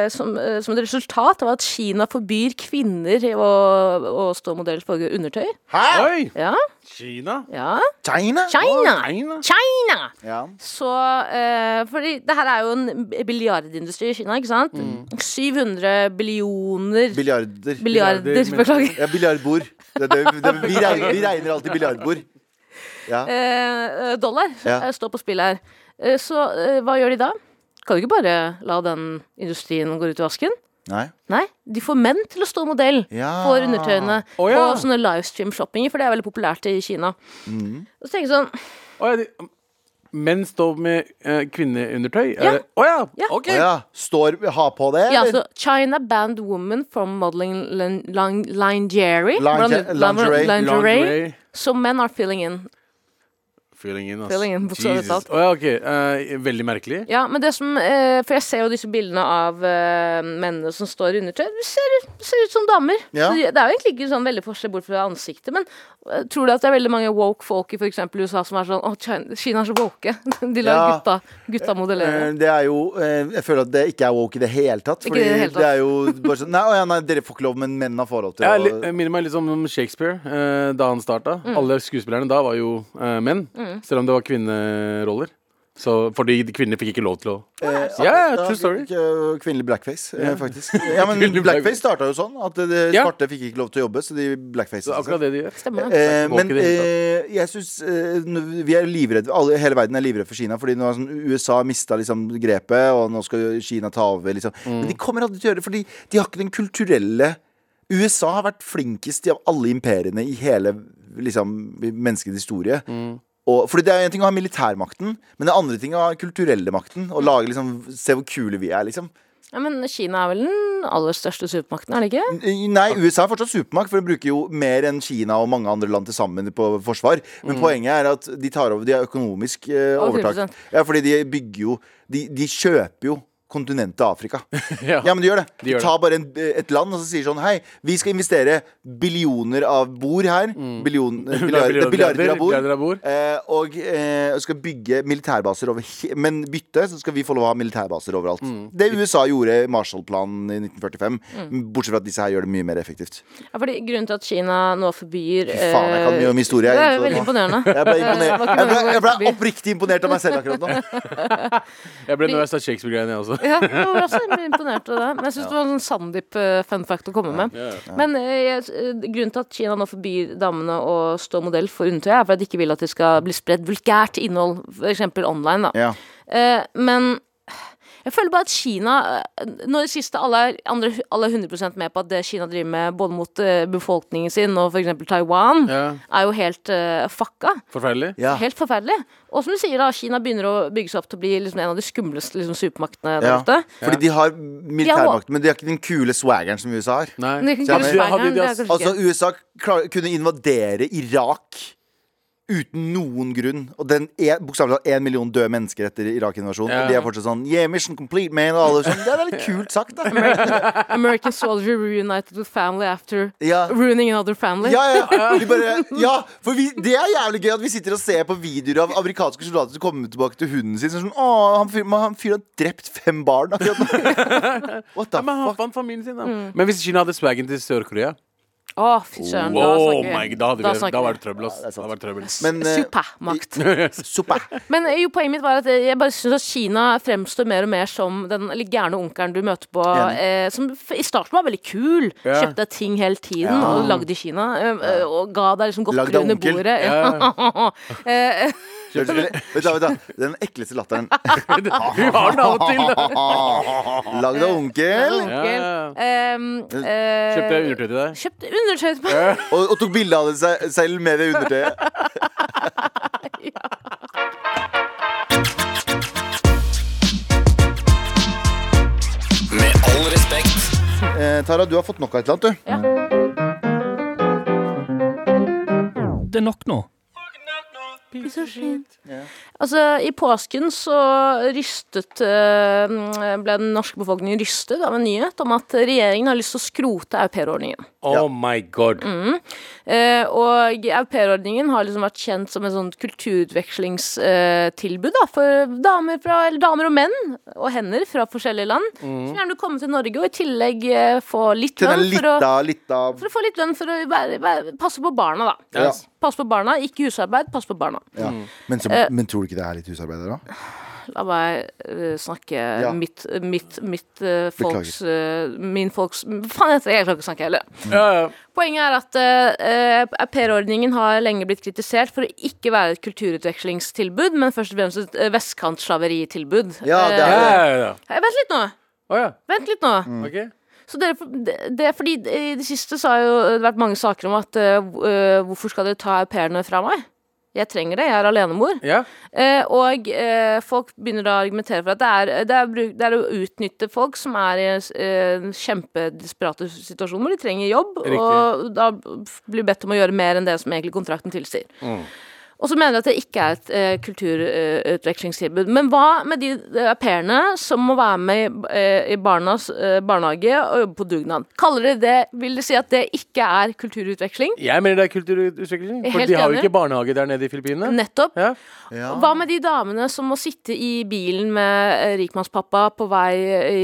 S2: eh, som, eh, som et resultat av at Kina forbyr kvinner å, å stå modell for undertøy.
S3: Oi!
S2: Ja,
S3: Kina?
S2: ja.
S4: China?
S2: China!
S3: Kina.
S2: China!
S4: Ja.
S2: Så eh, Fordi det her er jo en milliardindustri i Kina, ikke sant?
S4: Mm.
S2: 700 billioner
S4: Biljarder.
S2: Billiarder,
S3: Billiarder, men-
S2: beklager.
S4: Ja, biljardbord. Det, det, det, vi, regner, vi regner alltid biljardbord. Ja.
S2: eh, dollar
S4: Ja.
S2: eh, står på spill her. Eh, så eh, hva gjør de da? Kan du ikke bare la den industrien gå ut i vasken?
S4: Nei.
S2: Nei, de får menn til å stå modell
S4: Ja.
S2: for undertøyene.
S3: Å, ja.
S2: Og sånne livestream-shoppinger, for det er veldig populært i Kina. Og så tenker jeg sånn
S3: Å, ja, de- Menn står med eh, kvinneundertøy?
S2: Ja.
S3: Er det- Å ja.
S2: Ja.
S3: Ok.
S4: Å ja. Står Ha på det,
S2: Ja, altså China banned woman from modeling lin- lin- lingerie. Hvordan-
S4: Lingerie.
S2: lingerie. lingerie.
S3: Lingerie.
S2: So men are filling in.
S3: Feeling in, ass.
S2: Feeling in, bokstavelig
S3: Jesus.
S2: talt.
S3: Å ja, ok. Eh, veldig merkelig.
S2: Ja, men det som eh, For jeg ser jo disse bildene av eh, mennene som står i undertøy. De ser, ser ut som damer.
S4: Ja.
S2: Så de- det er jo egentlig ikke sånn veldig forskjell bort fra ansiktet. Men eh, tror du at det er veldig mange woke folk i f.eks. USA som er sånn Å, China, Kina er så woke. (laughs) De lar
S4: Ja.
S2: gutta, gutta modellere.
S4: Eh, Det er jo eh, Jeg føler at det ikke er woke i det hele tatt.
S2: Ikke
S4: Fordi
S2: i det hele tatt.
S4: det er jo bare sånn Nei, å ja, nei dere får ikke lov, men menn har forhold til
S3: Ja,
S4: å-
S3: li- eh, minner meg litt om Shakespeare eh, da han starta.
S2: Mm.
S3: Alle skuespillerne da var jo eh, menn, selv om det var kvinneroller. Så, fordi de kvinner fikk ikke lov til å
S4: Eh,
S3: Ja, ja,
S4: at-
S3: true story.
S4: k- Kvinnelig blackface, eh, faktisk. Ja,
S3: (laughs)
S4: men
S3: Kvinnelig
S4: blackface starta jo sånn at eh, de
S3: Ja.
S4: svarte fikk ikke lov til å jobbe, så de blackfacet
S3: Så
S4: seg selv.
S3: akkurat det de gjør.
S2: Stemmer det?
S4: Eh,
S3: Woke i
S4: men
S3: det hele
S4: eh, jeg syns eh, nå- Vi er livredde alle, Hele verden er livredd for Kina, fordi nå har sånn, USA mista liksom, grepet, og nå skal Kina ta over. Liksom.
S3: Mm.
S4: Men de kommer aldri til å gjøre det, fordi de har ikke den kulturelle USA har vært flinkest av alle imperiene i hele liksom, menneskets historie.
S3: Mm.
S4: Og, fordi Det er en ting å ha militærmakten, men det er andre ting å ha den kulturelle makten. Og lage liksom, Se hvor kule vi er, liksom.
S2: Ja, men Kina er vel den aller største supermakten, er det
S4: Mm.
S2: ikke?
S4: Nei, USA er fortsatt supermakt, for de bruker jo mer enn Kina og mange andre land til sammen på forsvar. Men poenget er at de tar over, de har økonomisk eh,
S2: Over
S4: overtak.
S2: 10%.
S4: Ja, fordi de bygger jo De, de kjøper jo kontinentet Afrika.
S3: Ja.
S4: men de gjør det. De,
S3: De gjør
S4: tar bare en, et land og så sier sånn Hei, vi skal investere billioner av bord her. Billion, eh, billiarder,
S3: Billiarder,
S4: billiarder av bord.
S3: billiarder av bord.
S4: Eh, og eh, og skal bygge militærbaser over he Men bytte, så skal vi få lov å ha militærbaser overalt. Det USA gjorde i Marshall-planen i 1945.
S2: Mm.
S4: Bortsett fra at disse her gjør det mye mer effektivt.
S2: Ja, fordi Grunnen til at Kina nå forbyr
S4: Fy faen, jeg kan mye om historie.
S2: Eh, Det er
S4: jeg,
S2: jo
S4: så-
S2: veldig imponerende. (laughs)
S4: Jeg ble,
S2: Eh, hva
S4: imponert.
S2: kunne
S4: jeg, ble,
S2: det
S4: jeg
S2: vært
S4: ble
S2: forbi?
S4: oppriktig imponert av meg selv akkurat nå.
S2: (laughs)
S3: Jeg ble nå jeg sa Shakespeare-greiene, jeg også.
S2: Ja, jeg var også imponert av det. Men jeg syns det var en sånn Sandeep-fun fact å komme med. Men eh, jeg- eh, grunnen til at Kina nå forbyr damene å stå modell for undertøy, er for at de ikke vil at det skal bli spredd vulgært innhold, f.eks. online. da
S4: Ja.
S2: Eh, Men jeg føler bare at Kina eh, Nå i det siste alle er, andre, alle er 100 med på at det Kina driver med både mot eh, befolkningen sin og f.eks. Taiwan,
S3: Ja,
S2: er jo helt eh, fucka.
S3: Forferdelig.
S4: Ja.
S2: Helt forferdelig. Og som du sier, da, Kina begynner å bygge seg opp til å bli liksom, en av de skumleste liksom, supermaktene der
S4: Ja.
S2: ute.
S4: Fordi de har militærmakt, men de har ikke den kule swaggeren som USA har.
S3: Nei.
S2: Men det er ikke
S4: Ja,
S2: kult
S4: men-
S2: for
S3: Hadde
S2: England,
S3: de
S2: det er
S3: altså-
S2: kanskje
S4: Altså,
S2: ikke-
S4: USA klar, kunne invadere Irak uten noen grunn. Og den er- bokstavelig talt én million døde mennesker etter Irak-invasjonen.
S3: Ja.
S4: Og de er fortsatt sånn Yeah, mission complete, man. Og alle er sånn, det er litt kult sagt, da.
S2: American soldier reunited with family after
S4: Ja.
S2: ruining another family.
S4: Ja,
S3: (laughs)
S4: ja. De bare, ja for vi, det er jævlig gøy at vi sitter og ser på videoer av amerikanske soldater som kommer tilbake til hunden sin. Sånn, Å, han fyren han fyren har drept fem barn akkurat nå.
S3: (laughs)
S4: What the
S3: Ja, men han
S4: fuck?
S3: fant familien sin, da. Men hvis Kina hadde swaggen til Sør-Korea
S2: Å, fy søren. Mm. Da
S3: Wow,
S2: snakker
S3: my
S2: vi.
S3: God, da, hadde
S2: Da
S3: vi,
S2: snakker
S3: da
S2: vi.
S3: var det trøbbel, ass.
S4: Ja, det er sant.
S3: Da var det
S2: (laughs)
S3: trøbbel.
S4: Men eh,
S2: Supermakt.
S4: (laughs) suppa.
S3: (laughs)
S2: Men eh, jo, poenget mitt var at eh, jeg bare syns at Kina fremstår mer og mer som den litt gærne onkelen du møter på.
S4: Enig.
S2: Eh, som f- i starten var veldig kul.
S3: Ja.
S2: Kjøpte deg ting hele tiden
S4: Ja.
S2: og lagde i Kina. eh, eh, Og ga deg liksom
S4: Lagde
S2: godteri under
S4: onkel.
S2: bordet. Eh,
S4: Vent vent da, vent da. Den ekleste latteren.
S3: Hun har den av og til! da.
S4: Lagd Ah. av onkel.
S2: onkel.
S3: (laughs) Ja, ja, ja.
S2: Eh, eh,
S3: Kjøpte jeg undertøy til deg?
S2: Kjøpte undertøy til meg.
S4: Og, og tok bilde av det seg, selv med det
S2: (laughs)
S4: undertøyet.
S5: Med all respekt.
S4: Eh, Tara, du har fått nok av et eller annet,
S6: Det er nok nå.
S2: Altså, I påsken så rystet eh, ble den norske befolkningen rystet av en nyhet om at regjeringen har lyst til å skrote aupairordningen.
S3: Oh my god.
S2: Eh, og aupairordningen har liksom vært kjent som et sånt kulturutvekslingstilbud da, for damer, fra, eller damer og menn og hender fra forskjellige land.
S3: Mm.
S2: Som gjerne vil komme til Norge og i tillegg eh, få litt
S4: du. Til den
S2: lønn for å
S4: litta, litta
S2: for å få litt lønn for å være, være, passe på barna, da.
S4: Ja.
S2: Passe på barna, ikke husarbeid, passe på barna.
S4: ja. men, så,
S2: Eh.
S4: men tror du ikke det er litt husarbeid der, da?
S2: La meg eh, snakke
S4: Ja.
S2: mitt, mitt, mitt eh, folks eh, Min folks Faen heter det, jeg klarer ikke å snakke heller.
S3: Mm. Ja, ja.
S2: Poenget er at eh, eh, aupairordningen har lenge blitt kritisert for å ikke være et kulturutvekslingstilbud, men først og fremst et eh, vestkantslaveritilbud.
S4: Ja, det
S3: Ja,
S4: er- Mm.
S2: Eh,
S3: ja, ja.
S2: eh, Vent litt nå!
S3: Å ja.
S2: Vent litt nå.
S3: Ok.
S2: Så dere, det, det er fordi eh, I det siste så har jo det vært mange saker om at eh, hvor- eh, hvorfor skal dere ta au pairene fra meg? Jeg trenger det, jeg er alenemor.
S3: Ja.
S2: Eh, og eh, folk begynner da å argumentere for at det er, det, er bruk, det er å utnytte folk som er i eh, en kjempedesperate situasjon hvor de trenger jobb,
S3: Riktig.
S2: og da blir bedt om å gjøre mer enn det som egentlig kontrakten tilsier. Og så mener de at det ikke er et eh, kulturutvekslingstilbud. Men hva med de eh, au pairene som må være med i, eh, i barnas eh, barnehage og jobbe på dugnad? Kaller de det Vil de si at det ikke er kulturutveksling?
S3: Jeg mener det er kulturutvikling. For
S2: Helt
S3: de har jo
S2: enig.
S3: ikke barnehage der nede i Filippinene.
S2: Nettopp.
S3: Ja.
S4: Ja.
S2: Hva med de damene som må sitte i bilen med eh, rikmannspappa på vei i,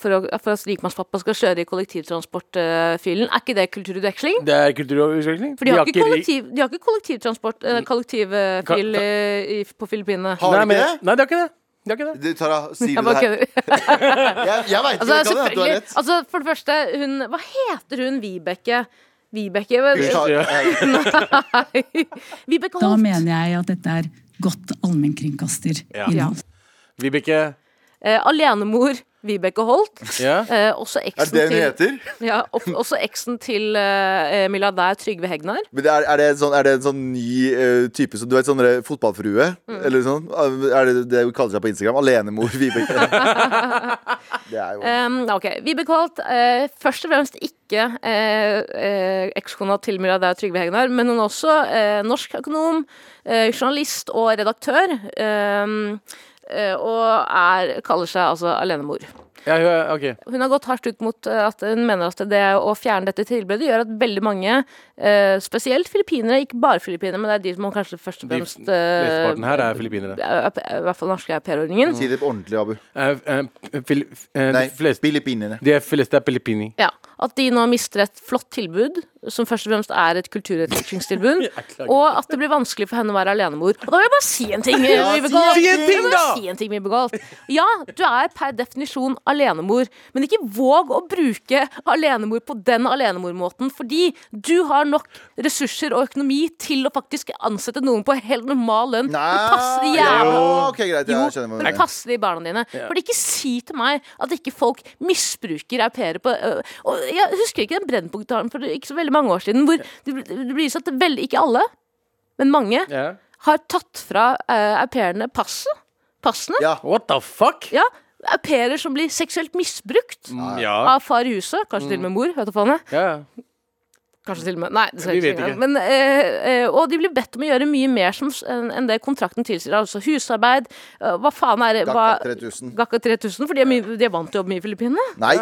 S2: for, å, for at rikmannspappa skal kjøre i kollektivtransportfylen? Er ikke det kulturutveksling?
S3: Det er kulturutvikling.
S2: For de har, ikke
S3: ri-
S2: kollektiv, de har ikke kollektivtransport eh, kollektivfyl
S3: Ka-
S2: eh, i- på Filippinene.
S4: Har
S3: Nei,
S4: du
S3: men,
S4: ikke det?
S3: nei, det er ikke det. De har ikke det.
S4: Du, Tara, sier
S2: Jeg
S4: du det
S2: bare
S4: her?
S2: kødder.
S4: Jeg, jeg veit
S2: Altså,
S4: ikke, kan det, at du har
S2: selvfølgelig.
S4: rett.
S2: Altså, for det første, hun Hva heter hun Vibeke? Vibeke
S4: Du tar- eh,
S2: (laughs) Vibeke
S7: Da
S2: Holt.
S7: mener jeg at dette er godt allmennkringkasterinnhold.
S3: Vibeke
S2: Eh, alenemor. Vibeke Holt.
S3: Ja.
S2: Eh, også
S4: Er det
S2: eksen
S4: det hun
S2: til
S4: heter?
S2: Ja, og, også eksen til eh, milliardær Trygve Hegnar.
S4: Men det er, er, det en sånn, er det en sånn ny eh, type som Du vet sånn der fotballfrue?
S2: Mm.
S4: Eller sånn? Er det det hun kaller seg på Instagram? Alenemor
S2: (laughs)
S4: Vibeke. det er jo
S2: Um, ok, Vibeke Holt, eh, først og fremst ikke eh, eh, ekskona til milliardær Trygve Hegnar, men hun er også eh, norsk økonom, eh, journalist og redaktør. ehm, eh, og er, kaller seg altså alenemor.
S3: Ja, hun er- ok.
S2: Hun har gått hardt ut mot eh, at hun mener at det å fjerne dette tilbudet gjør at veldig mange, eh, spesielt filippinere, ikke bare filippinere, men det er de som kanskje først og
S3: De-
S2: fremst eh,
S3: Mesteparten Mm. her er filippinere.
S2: er- er- er- I hvert fall norske aupairordningen.
S4: Si det på ordentlig, Abu.
S3: Eh, eh, fil- eh,
S4: Nei,
S3: de fleste-
S4: filippinerne.
S3: de fleste er filippini.
S2: Ja, At de nå mister et flott tilbud, som først og fremst er et
S4: (laughs)
S2: kulturutvekslingstilbud. og at det blir vanskelig for henne å være alenemor. Og da vil jeg bare si en ting. Vibeke
S4: si en
S2: Holt.
S4: ting,
S2: Jeg vil bare
S3: da!
S2: Si en ting, Vibeke Holt. Ja, du er per definisjon alenemor, men ikke våg å bruke alenemor på den alenemormåten, fordi du har nok ressurser og økonomi til å faktisk ansette noen på helt normal lønn. Det passer
S4: Nei,
S2: jævla
S4: ja, ok, greit,
S2: jo,
S4: jeg skjønner
S2: men
S4: hva
S2: det
S4: du mener.
S2: passer i barna dine. For ikke si til meg at ikke folk misbruker au pairer på øh, og Jeg husker ikke den Brennpunkt-talen for ikke så veldig mange år siden, hvor det, bl- det blir sånn at veldig, ikke alle, men mange,
S3: Ja.
S2: har tatt fra uh, au pairene passet. Passene.
S4: Ja.
S3: What the fuck? Mm,
S2: Ja. Au pairer som blir seksuelt misbrukt
S3: Ja.
S2: av far i huset, kanskje til og med mor. Vet du faen jeg.
S3: ja.
S2: Kanskje til og med Nei, det skal
S3: Vi
S2: jeg
S3: vet
S2: ikke si. Men, eh, eh, og de blir bedt om å gjøre mye mer som, enn enn det kontrakten tilsier. Altså husarbeid, eh, hva faen er det hva-
S4: Gakka 3000.
S2: Gakka 3000, for de er, mye, de er vant til å jobbe mye i Filippinene.
S4: Nei.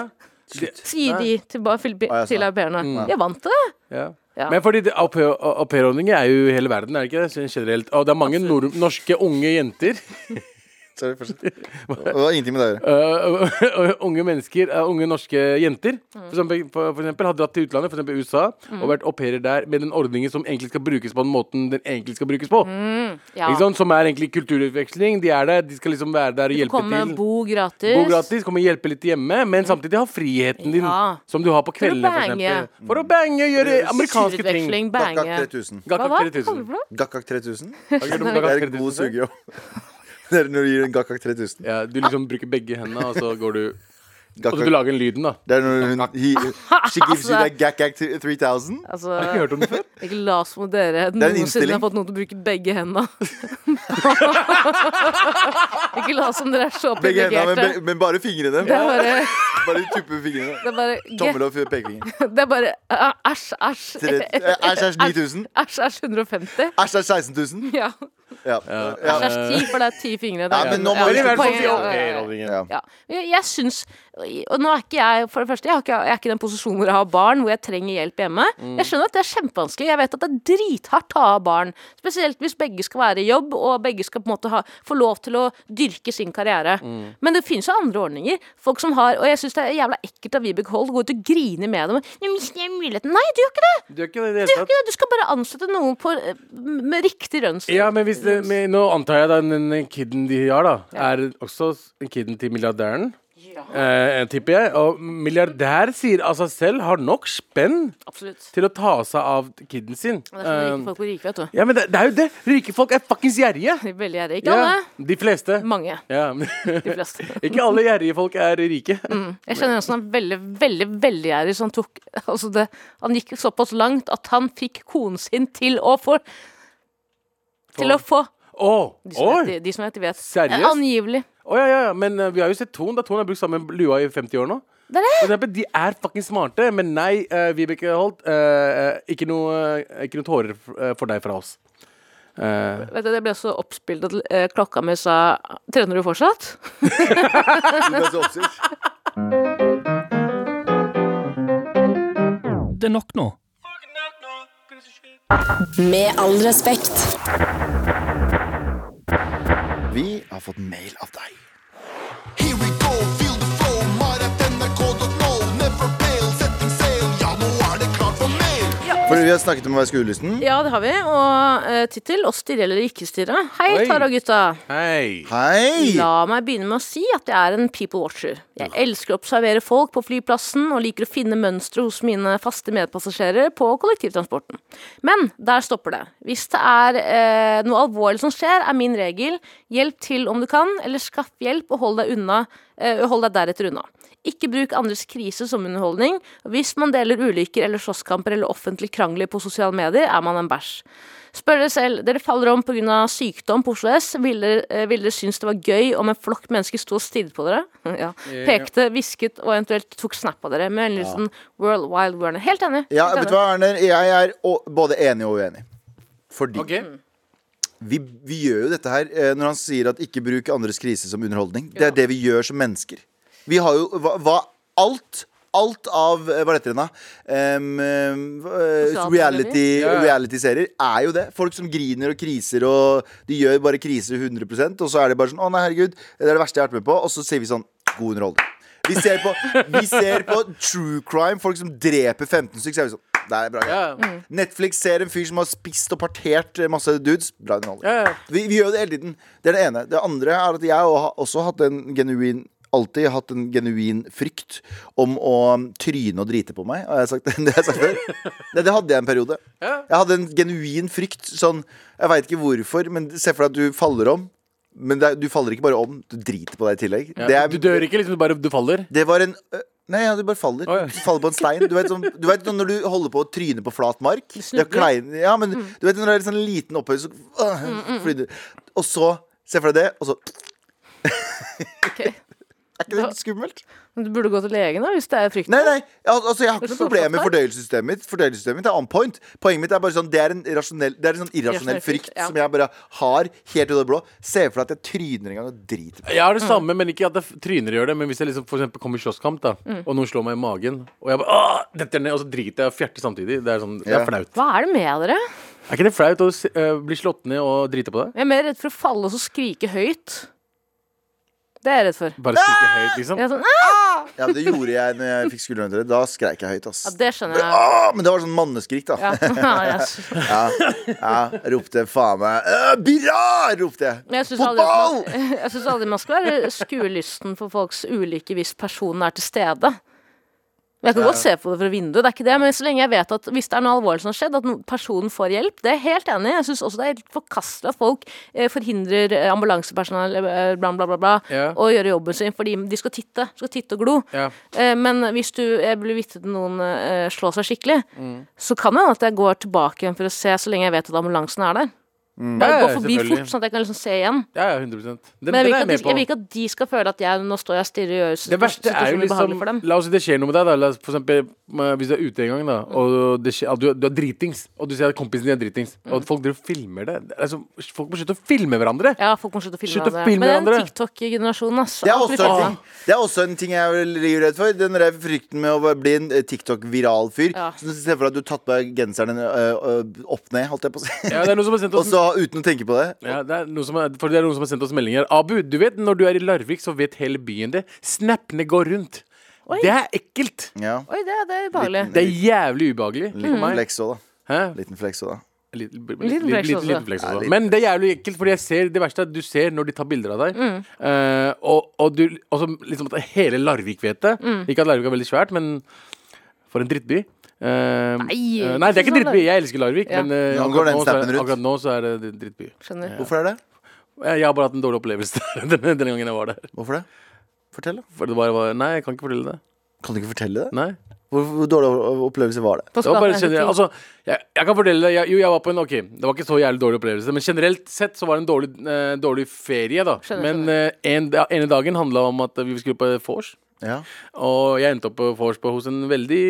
S2: Sier de til, ba- Filippi-
S4: Å, Mm. jeg sa.
S2: til au pairene. De er vant til det.
S3: Ja.
S2: Ja.
S3: Men fordi det- au pair- au pair-ordninger er jo i hele verden, er det ikke det? Sånn Generelt. Og det er mange nord norske unge jenter. (laughs)
S4: Sorry, fortsett. Det var ingenting med det å gjøre.
S3: øh, øh, unge mennesker, øh, unge norske jenter, for, eksempel, for, for eksempel, har dratt til utlandet, for eksempel USA, og vært au pairer der med den ordningen som egentlig skal brukes på den måten den egentlig skal brukes på.
S2: Ja.
S3: Ikke sant? Som er egentlig kulturutveksling. De er der, de skal liksom være der og hjelpe
S2: Komme,
S3: til.
S2: bo gratis.
S3: Bo gratis, komme og hjelpe litt hjemme, men samtidig ha friheten din,
S2: Ja.
S3: som du har på
S2: å
S3: kveldene, for
S2: bange.
S3: eksempel. For å bange, gjøre amerikanske ting.
S2: Kulturutveksling,
S4: Gakka
S2: bange.
S4: 3000.
S2: Hva
S3: Gakk nok
S2: var
S3: 3000.
S2: det?
S4: Gakka
S2: (laughs)
S4: 3000?
S3: Gakk
S4: Det er
S3: nok
S4: en
S3: 3000.
S4: god sugejobb. (laughs) Det er når du gir en gakka 3000.
S3: Ja, du liksom bruker begge hendene, og så går du (laughs) Og så du
S4: Gakka,
S3: lager den lyden, da.
S4: det er når hun he,
S2: (laughs)
S4: She gives you that gakka 3000.
S2: Altså,
S3: Jeg har ikke hørt om den før.
S2: ikke la som om dere
S4: en
S2: noensinne
S4: innstilling.
S2: har fått noen til å bruke begge
S4: (laughs)
S2: hendene. (laughs) ikke la som dere er så
S4: Begge hendene, men,
S2: privilegerte.
S4: men bare fingrene.
S2: Det er bare,
S4: Bare tuppe
S2: (laughs)
S4: fingrene.
S2: det er bare,
S4: (laughs) Tommel og pekefinger.
S2: get- (laughs) det er bare æ- Æsj, æsj.
S4: Tre-
S2: (laughs)
S4: eh, Æsj, æsj 9000.
S2: Æsj, æsj 150.
S4: Æsj, æsj 16 000.
S2: Ja.
S4: Ja. Ja.
S2: Æsj er ti, for det er ti fingre. Det er
S4: Eh. Ja,
S2: ikke-
S4: men nå må
S3: Men
S4: vi-
S3: i hvert fall
S2: poenget-
S3: til
S2: ja,
S3: au
S2: ja, ja, ja.
S3: pair-ordningen.
S4: Ja.
S2: Ja. Jeg, jeg syns Og nå er ikke jeg For det første, jeg, har ikke, jeg er ikke i den posisjonen hvor jeg har barn, hvor jeg trenger hjelp hjemme.
S3: Mm.
S2: Jeg skjønner at det er kjempevanskelig. Jeg vet at det er drithardt å ha barn. Spesielt hvis begge skal være i jobb, og begge skal på en måte ha, få lov til å dyrke sin karriere.
S3: Mm.
S2: Men det finnes jo andre ordninger. Folk som har Og jeg syns det er jævla ekkelt av Vibeke Holt å gå ut og grine med dem. Nå mister jeg muligheten. Nei, du gjør ikke det!
S3: Du gjør ikke det i det
S2: Du,
S3: hele
S2: gjør
S3: tatt.
S2: ikke det. du skal bare ansette noen på, eh, med riktig rønnsel.
S3: Ja, men hvis det, men nå antar jeg da den den kiden de har, da, er også s- kiden til milliardæren. Eh, tipper jeg. Og milliardær sier av seg selv har nok spenn
S2: Absolutt.
S3: til å ta seg av kiden sin.
S2: Det er sånn rike
S3: Eh,
S2: folk blir rike, vet du.
S3: ja, men det, det er jo det! Rike folk er fuckings gjerrige.
S2: De er Veldig gjerrige. Ikke
S3: Ja,
S2: alle.
S3: de fleste.
S2: Mange.
S3: Ja. (laughs)
S2: De fleste.
S3: ikke alle gjerrige folk er rike.
S2: Jeg kjenner en som er veldig, veldig veldig gjerrig. Så han tok altså det, Han gikk såpass langt at han fikk konen sin til å få Til å få
S3: Å!
S2: De som
S3: Oi!
S2: vet, de som vet, de vet.
S3: Seriøst?
S2: Eh, Angivelig.
S3: Å, ja, ja, ja. Men eh, vi har jo sett Thon. da Thon har brukt samme lua i 50 år nå.
S2: Det er
S3: For eksempel, de er fuckings smarte, men nei, eh, Vibeke Holt. eh, eh, ikke, noe, eh, ikke noe tårer f- eh, for deg fra oss. Eh,
S2: Vet du, Det ble så oppspilt at eh, klokka mi sa Trener du fortsatt?
S4: Du ble så oppstyrt.
S6: Det er nok nå.
S1: Med all respekt.
S4: Eh, Vi har fått mail av deg.
S5: Here we go, feel the flow, maratnrk.no. Never fail, setting sail. Ja, nå er det klart for mer.
S4: For vi har snakket om å være skolelysten.
S2: Ja, det har vi. Og eh, tittel 'Å stirre eller ikke stirre'. Hei,
S3: Oi.
S2: Tara og gutta.
S3: hei!
S4: Hei!
S2: La meg begynne med å si at jeg er en people watcher. Jeg elsker å observere folk på flyplassen og liker å finne mønstre hos mine faste medpassasjerer på kollektivtransporten. Men der stopper det. Hvis det er eh, noe alvorlig som skjer, er min regel hjelp til om du kan, eller skaff hjelp og hold deg unna eh, hold deg deretter unna. Ikke bruk andres krise som underholdning. Hvis man deler ulykker eller slåsskamper eller offentlige krangler på sosiale medier, er man en bæsj. Spør dere selv. Dere faller om pga. sykdom på Oslo S. Ville dere, eh, ville dere synes det var gøy om en flokk mennesker sto og stirret på dere? (laughs)
S4: Eh,
S2: ja. Pekte, hvisket og eventuelt tok snap av dere. Med vennligheten World Wild Werner. Helt enig.
S4: Ja,
S2: Helt
S4: vet du
S2: enig.
S4: hva, Erner? Jeg er å- både enig og uenig. Fordi
S3: Ok,
S4: vi, vi gjør jo dette her eh, når han sier at ikke bruk andres krise som underholdning. Det er det vi gjør som mennesker. Vi har jo hva, hva Alt. Alt av eh, hva heter det da? Em, em, eh,
S2: Sosiale
S4: reality-
S3: medier. Ja, ja.
S4: Reality-serier er jo det. Folk som griner og kriser, og de gjør bare krise 100 og så er det bare sånn Å, nei, herregud, det er det verste jeg har vært med på. Og så sier vi sånn God underholdning. Vi ser på, vi ser på true crime, folk som dreper 15 stykker, så er vi sånn Det er bra.
S3: ja,
S4: Netflix ser en fyr som har spist og partert eh, masse dudes. Bra underholdning.
S3: ja, ja.
S4: Vi, vi gjør jo det hele tiden. Det er det ene. Det andre er at jeg har også hatt en genuin Alltid hatt en genuin frykt om å um, tryne og drite på meg. Har jeg sagt (laughs) det? Det, har jeg sagt før. Nei, det hadde jeg en periode. Jeg hadde en genuin frykt. Sånn, jeg veit ikke hvorfor, men se for deg at du faller om. Men det er, du faller ikke bare om, du driter på deg i tillegg.
S3: Ja.
S4: Det er-
S3: Du dør ikke, liksom, du bare du faller.
S4: det var en øh, Nei, ja, du bare faller.
S3: Å, ja.
S4: Du faller på en stein. Du vet, sånn, du vet sånn når du holder på å tryne på flat mark. Du er
S2: snubler. Mm.
S4: klein, ja, men du vet når det er litt sånn liten opphøyelse, så øh, flyr du. Og så Se for deg det, og så
S2: Ok.
S4: (laughs) Er ikke det litt skummelt?
S2: Men Du burde gå til legen da, hvis det er frykt.
S4: Nei, nei. al- Altså, jeg har ikke
S2: Det
S4: noe problem med
S2: står flat
S4: fordøyelsessystemet mitt. Fordøyelsessystemet mitt er on point. Poenget mitt er bare sånn Det er en, rasjonell, det er en sånn irrasjonell
S2: Irrasjonell frykt,
S4: frykt
S2: ja.
S4: som jeg bare har helt ut av det blå. Se for deg at jeg tryner en gang og driter.
S3: Jeg har det samme, men ikke at det f- tryner gjør det. Men hvis jeg liksom for eksempel kommer i slåsskamp, da,
S2: Mm.
S3: og noen slår meg i magen, og jeg bare Åh! detter ned, og så driter jeg og fjerter samtidig, det er, sånn, det
S4: Ja.
S3: er flaut.
S2: Hva er det med dere?
S3: Er ikke det flaut å se- øh, bli slått ned og drite på deg?
S2: Jeg er mer redd for å falle og så skrike høyt. Det er jeg redd for.
S3: Bare skrike høyt, liksom?
S2: Jeg er sånn, «Ah!»
S4: Ja, det gjorde jeg når jeg fikk skuldrene Da skreik jeg høyt, ass.
S2: ja, (laughs) det skjønner jeg.
S4: Åh, men det var sånn manneskrik, da.
S2: Ja. Ja, jeg sy-
S4: Ja, ropte faen meg «Øh, Birra! ropte
S2: Men jeg
S4: jeg.
S2: syns aldri,
S4: Fotball!
S2: at man- (laughs) jeg synes aldri man skal være skuelysten for folks ulykke hvis personen er til stede. Men Jeg kan godt se på det fra vinduet, det er ikke det. Men så lenge jeg vet at hvis det er noe alvorlig som har skjedd, at no- personen får hjelp, det er jeg helt enig i. Jeg syns også det er helt forkastelig at folk eh, forhindrer eh, ambulansepersonell, eh, bla, bla, bla, bla,
S3: Ja.
S2: å gjøre jobben sin fordi de skal titte. Skal titte og glo.
S3: Ja.
S2: Eh, Men hvis du jeg blir vitne til noen eh, slå seg skikkelig,
S3: Mm.
S2: så kan det hende at jeg går tilbake igjen for å se, så lenge jeg vet at ambulansen er der. Bare
S3: Mm. Ja,
S2: gå
S3: ja,
S2: forbi
S3: selvfølgelig.
S2: fort, sånn at jeg kan liksom se igjen.
S3: Ja, ja, 100 Den, den
S2: Men jeg vil, ikke
S3: er jeg
S2: at de,
S3: med
S2: jeg vil
S3: på.
S2: ikke at de skal føle at jeg, nå står jeg stille og gjør
S3: Det verste er jo
S2: situasjonen
S3: liksom
S2: ubehagelig for dem.
S3: La oss si det skjer noe med deg, da. La oss, for eksempel, eh, hvis du er ute en gang, da,
S2: Mm.
S3: og det skjer, at du, du er dritings, og du ser at kompisen din er dritings, og folk driver og filmer det. Det er Altså, folk må slutte å filme hverandre.
S2: Mm. Ja, folk må slutte å filme
S3: Slutt å
S2: hverandre.
S3: filme
S2: Men den
S3: hverandre.
S2: TikTok-generasjonen, ass.
S4: Det er,
S2: alt blir
S4: også en
S2: filmet.
S3: sånn.
S4: ting, det er også en ting jeg er livredd for. Den der frykten med å bli en eh, TikTok-viral fyr.
S2: Ja.
S4: Så du ser for deg at du har tatt på deg genseren øh, øh, opp ned, holdt jeg på å si.
S3: Ja, det er noen som har sendt
S4: (laughs) Og
S3: oss
S4: så uten å tenke på det.
S3: ja, det er noen som, har- for det er noen som har sendt oss meldinger. Abu, du vet når du er i Larvik, så vet hele byen det. Snappene går rundt. Det er ekkelt.
S4: Ja.
S2: Oi, det, det er ubehagelig.
S3: Det er jævlig ubehagelig.
S4: Liten
S2: Mm.
S3: for meg.
S4: flex òg, da.
S3: Hæ?
S4: Liten flex også, da.
S3: Liten
S2: Liten flex også.
S3: flex
S4: Ja,
S3: også.
S4: liten
S3: Men det er jævlig ekkelt, Fordi jeg ser det verste er at du ser når de tar bilder av deg.
S2: Mm.
S3: eh, og, og, du, og så liksom at hele Larvik vet det.
S2: Mm.
S3: Ikke at Larvik er veldig svært, men for en drittby. Eh,
S2: Nei,
S3: eh, nei, det er
S2: ikke
S3: ikke
S2: sånn
S3: drittby. Jeg elsker Larvik,
S2: Ja.
S3: men eh,
S4: Nå
S3: akkurat,
S4: går den
S3: nå, så
S4: snappen
S3: er,
S4: rundt.
S3: akkurat nå så er det dritt- drittby.
S2: Skjønner.
S4: Hvorfor er det?
S3: Eh, Jeg har bare hatt en dårlig opplevelse (laughs) denne, denne gangen jeg var der.
S4: Hvorfor det? Fortell, da.
S3: For det bare var, nei, jeg kan ikke fortelle det.
S4: Kan du ikke fortelle det?
S3: Nei.
S4: Hvor, hvor dårlig o- opplevelse var det?
S2: På
S3: Det var bare
S2: skapet er det
S3: generelt,
S2: ting.
S3: altså, jeg, jeg kan fortelle deg jeg, Jo, jeg var på en Ok, det var ikke så jævlig dårlig opplevelse, men generelt sett så var det en dårlig, eh, dårlig ferie, da.
S2: Skjønner,
S3: men eh, en, da- ene dagen handla om at vi skulle på vors,
S4: Ja.
S3: og jeg endte opp på vors på- hos en veldig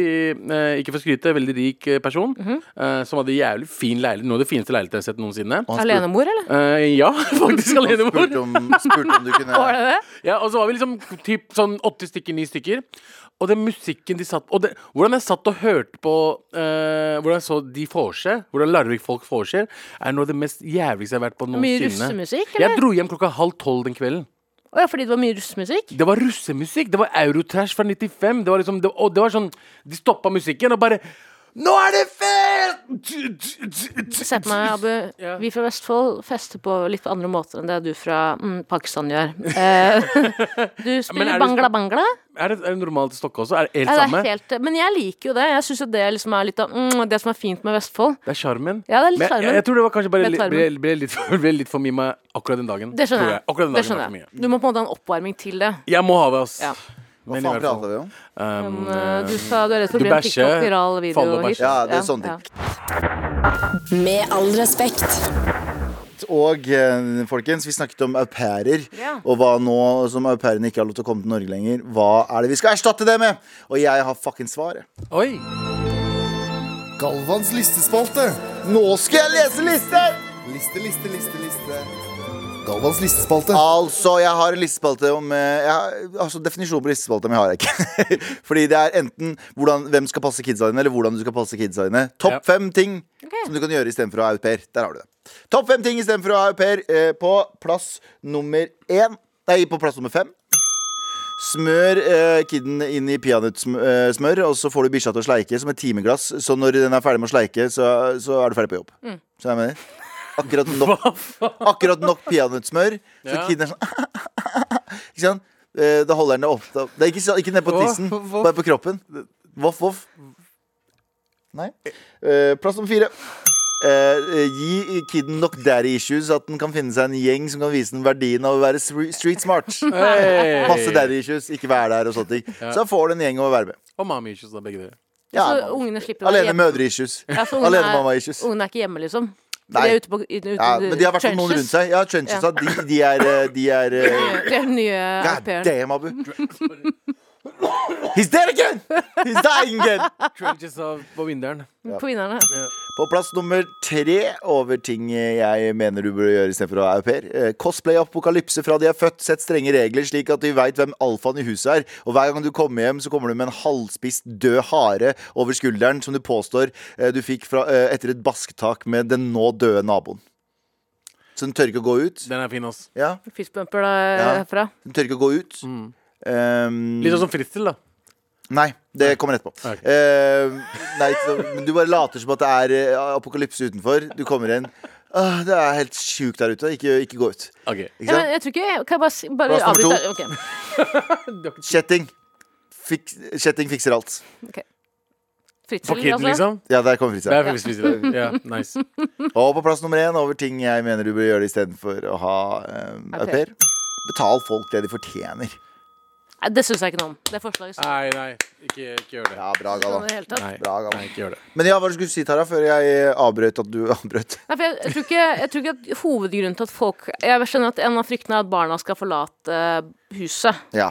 S3: eh, Ikke for å skryte, veldig rik eh, person,
S2: Mhm.
S3: eh, som hadde jævlig fin leilighet. Noe av det fineste leiligheten jeg har sett noensinne.
S4: Og han spurte-
S2: Alenemor, eller?
S3: Eh, ja, (laughs) faktisk alenemor.
S4: Spurte om, spurte om du
S2: (laughs) Var
S4: kunne
S2: det det?
S3: Ja, og så var vi liksom typ sånn åtte stykker, ni stykker. Og den musikken de satt Og det, hvordan jeg satt og hørte på eh, Hvordan jeg så de vorse, hvordan Larvik-folk vorser, er noe av det mest jævligste jeg har vært på
S2: Mye
S3: noensinne.
S2: russemusikk,
S3: Jeg
S2: eller?
S3: dro hjem klokka halv tolv den kvelden.
S2: Å ja, fordi det var mye
S3: (laughs)
S2: russemusikk?
S3: Det var russemusikk! Det var Eurotrash fra 95. Det var liksom, det, og det var sånn De stoppa musikken og bare Nå er det fest!
S2: Se på meg, Abu. Vi fra Vestfold fester på litt andre måter enn det du fra mm, Pakistan gjør. Eh, (laughs) du
S3: er
S2: spiller
S3: det-
S2: bangla-bangla.
S3: Er det, er det normalt i Stokke også? Er det helt
S2: Ja, det
S3: samme?
S2: er helt, men jeg liker jo det. Jeg syns jo det liksom er litt av mm, det som er fint med Vestfold.
S3: Det er sjarmen.
S2: Ja, det er litt
S3: Men jeg- Jeg,
S2: charmen.
S3: jeg tror det var kanskje bare
S2: Det er
S3: litt, ble,
S2: charmen.
S3: ble, litt for, ble litt for mye med akkurat den dagen.
S2: Det
S3: tror
S2: skjønner
S3: jeg. Akkurat
S2: jeg. Det
S3: den dagen var for
S2: skjønner
S3: mye.
S2: jeg. Du må på en måte ha en oppvarming til det.
S3: Jeg må ha det, ass.
S2: Ja.
S4: Hva
S3: Men i
S4: faen
S3: hvert fall.
S4: prater vi om?
S3: Um,
S2: Men, eh, du sa du er redd for å
S3: Du
S2: bli en
S3: bæsjer,
S2: TikTok-viral video.
S3: faller og bæsjer.
S4: Ja, det er sånne ting.
S1: Med all respekt.
S4: Og eh, folkens, vi snakket om au pairer.
S2: Ja.
S4: Og hva nå som au pairene ikke har lov til å komme til Norge lenger, hva er det vi skal erstatte det med? Og jeg har fuckings svaret.
S3: Oi!
S7: Galvans listespalte.
S4: Nå skal jeg lese lister!
S7: Liste, liste, liste, liste. Galvans listespalte.
S4: Altså, jeg har en listespalte om eh, jeg har, Altså, definisjonen på listespalte, men jeg har ikke. (laughs) Fordi det er enten hvordan, hvem skal passe kidsa dine, eller hvordan du skal passe kidsa dine. Topp
S3: Ja.
S4: fem ting som du kan gjøre istedenfor å ha au pair. Der har du det. Topp fem ting istedenfor å ha au pair eh, på plass nummer én. Nei, på plass nummer fem. Smør eh, kidden inn i peanøttsmør, eh, smør, og så får du bikkja til å sleike som et timeglass. Så når den er ferdig med å sleike, så, så er du ferdig på jobb. Så jeg mener Akkurat nok, akkurat nok peanøttsmør, så
S3: Ja.
S4: kidden er sånn (laughs) Ikke sant? Eh, Da holder den det opp. Det er ikke, så- ikke ned på
S3: Voff,
S4: tissen,
S3: voff.
S4: bare på kroppen. Voff, voff. Nei. Eh, Plass nummer fire. Eh, eh, gi kidden nok daddy issues, at den kan finne seg en gjeng som kan vise den verdien av å være stre- street smart.
S3: (laughs) Hey.
S4: Masse daddy issues, ikke være der og sånne ting. Så får du en gjeng å være med.
S3: Og mami issues, da, begge
S2: (laughs)
S3: dere.
S4: Ja,
S2: Så
S4: man.
S2: ungene slipper å være
S4: Alene
S2: hjemme.
S4: mødre-issues.
S2: Ja, for ungene er-
S4: Alenemamma-issues.
S2: Ungene er ikke hjemme, liksom.
S4: Nei.
S2: De er ute på ute, ute,
S4: Ja, men de har i hvert fall noen rundt seg. Ja, trenches,
S2: Ja.
S4: De, de er, eh, de er eh,
S2: (laughs) Det er den nye au
S4: God
S2: pairen.
S4: damn, Abu. He's dead again! He's dying again!
S3: Trenches av på vinneren.
S2: På vinnerne.
S4: På plass nummer tre over ting jeg mener du burde gjøre istedenfor å ha au pair. Eh, Cosplay apokalypse fra de er født. Sett strenge regler, slik at de veit hvem alfaen i huset er. Og hver gang du kommer hjem, så kommer du med en halvspist død hare over skulderen som du påstår eh, du fikk fra, eh, etter et basketak med den nå døde naboen. Så den tør ikke å gå ut.
S3: Den er fin, ass.
S4: Ja,
S2: Fistbumper da, eh,
S4: Ja.
S2: herfra.
S4: den tør ikke å gå ut. Um,
S3: Mm. Litt sånn som Fritzel, da.
S4: Nei, det kommer etterpå.
S3: Ok.
S4: Eh, nei, så, men du bare later som at det er eh, apokalypse utenfor. Du kommer inn. «Åh, det er helt sjukt der ute. Ikke, ikke gå ut.
S3: Ok.
S2: Ja,
S4: Ikke
S2: men
S4: sant?
S2: jeg tror ikke Kan jeg bare, si- bare
S4: Plass nummer
S2: avbryte? Ok.
S4: Kjetting. Fik, kjetting fikser alt.
S3: For
S2: Fritzel,
S3: kiden,
S2: altså.
S3: liksom.
S4: Ja, der kom
S3: Det
S4: Fritza.
S3: er faktisk
S2: (laughs)
S3: Fritzel. Ja, nice.
S4: Og på plass nummer én over ting jeg mener du burde gjøre istedenfor å ha eh,
S2: Au
S4: au
S2: pair.
S4: pair. Betal folk det de fortjener.
S2: Nei, det syns jeg ikke noe om. Det forslaget syns
S3: Nei, nei. Ikke, ikke gjør det.
S4: Ja, bra,
S2: jeg ikke noe om i
S4: Galvan.
S2: det hele tatt.
S3: Nei,
S4: Bra, Galvan.
S3: nei, ikke gjør Sånn det.
S4: Men ja, hva var det du skulle si, Tara, før jeg eh, avbrøt at du avbrøt?
S2: Nei, for jeg, jeg, tror ikke, jeg tror ikke at hovedgrunnen til at folk Jeg skjønner at en av fryktene er at barna skal forlate eh, huset.
S4: Ja.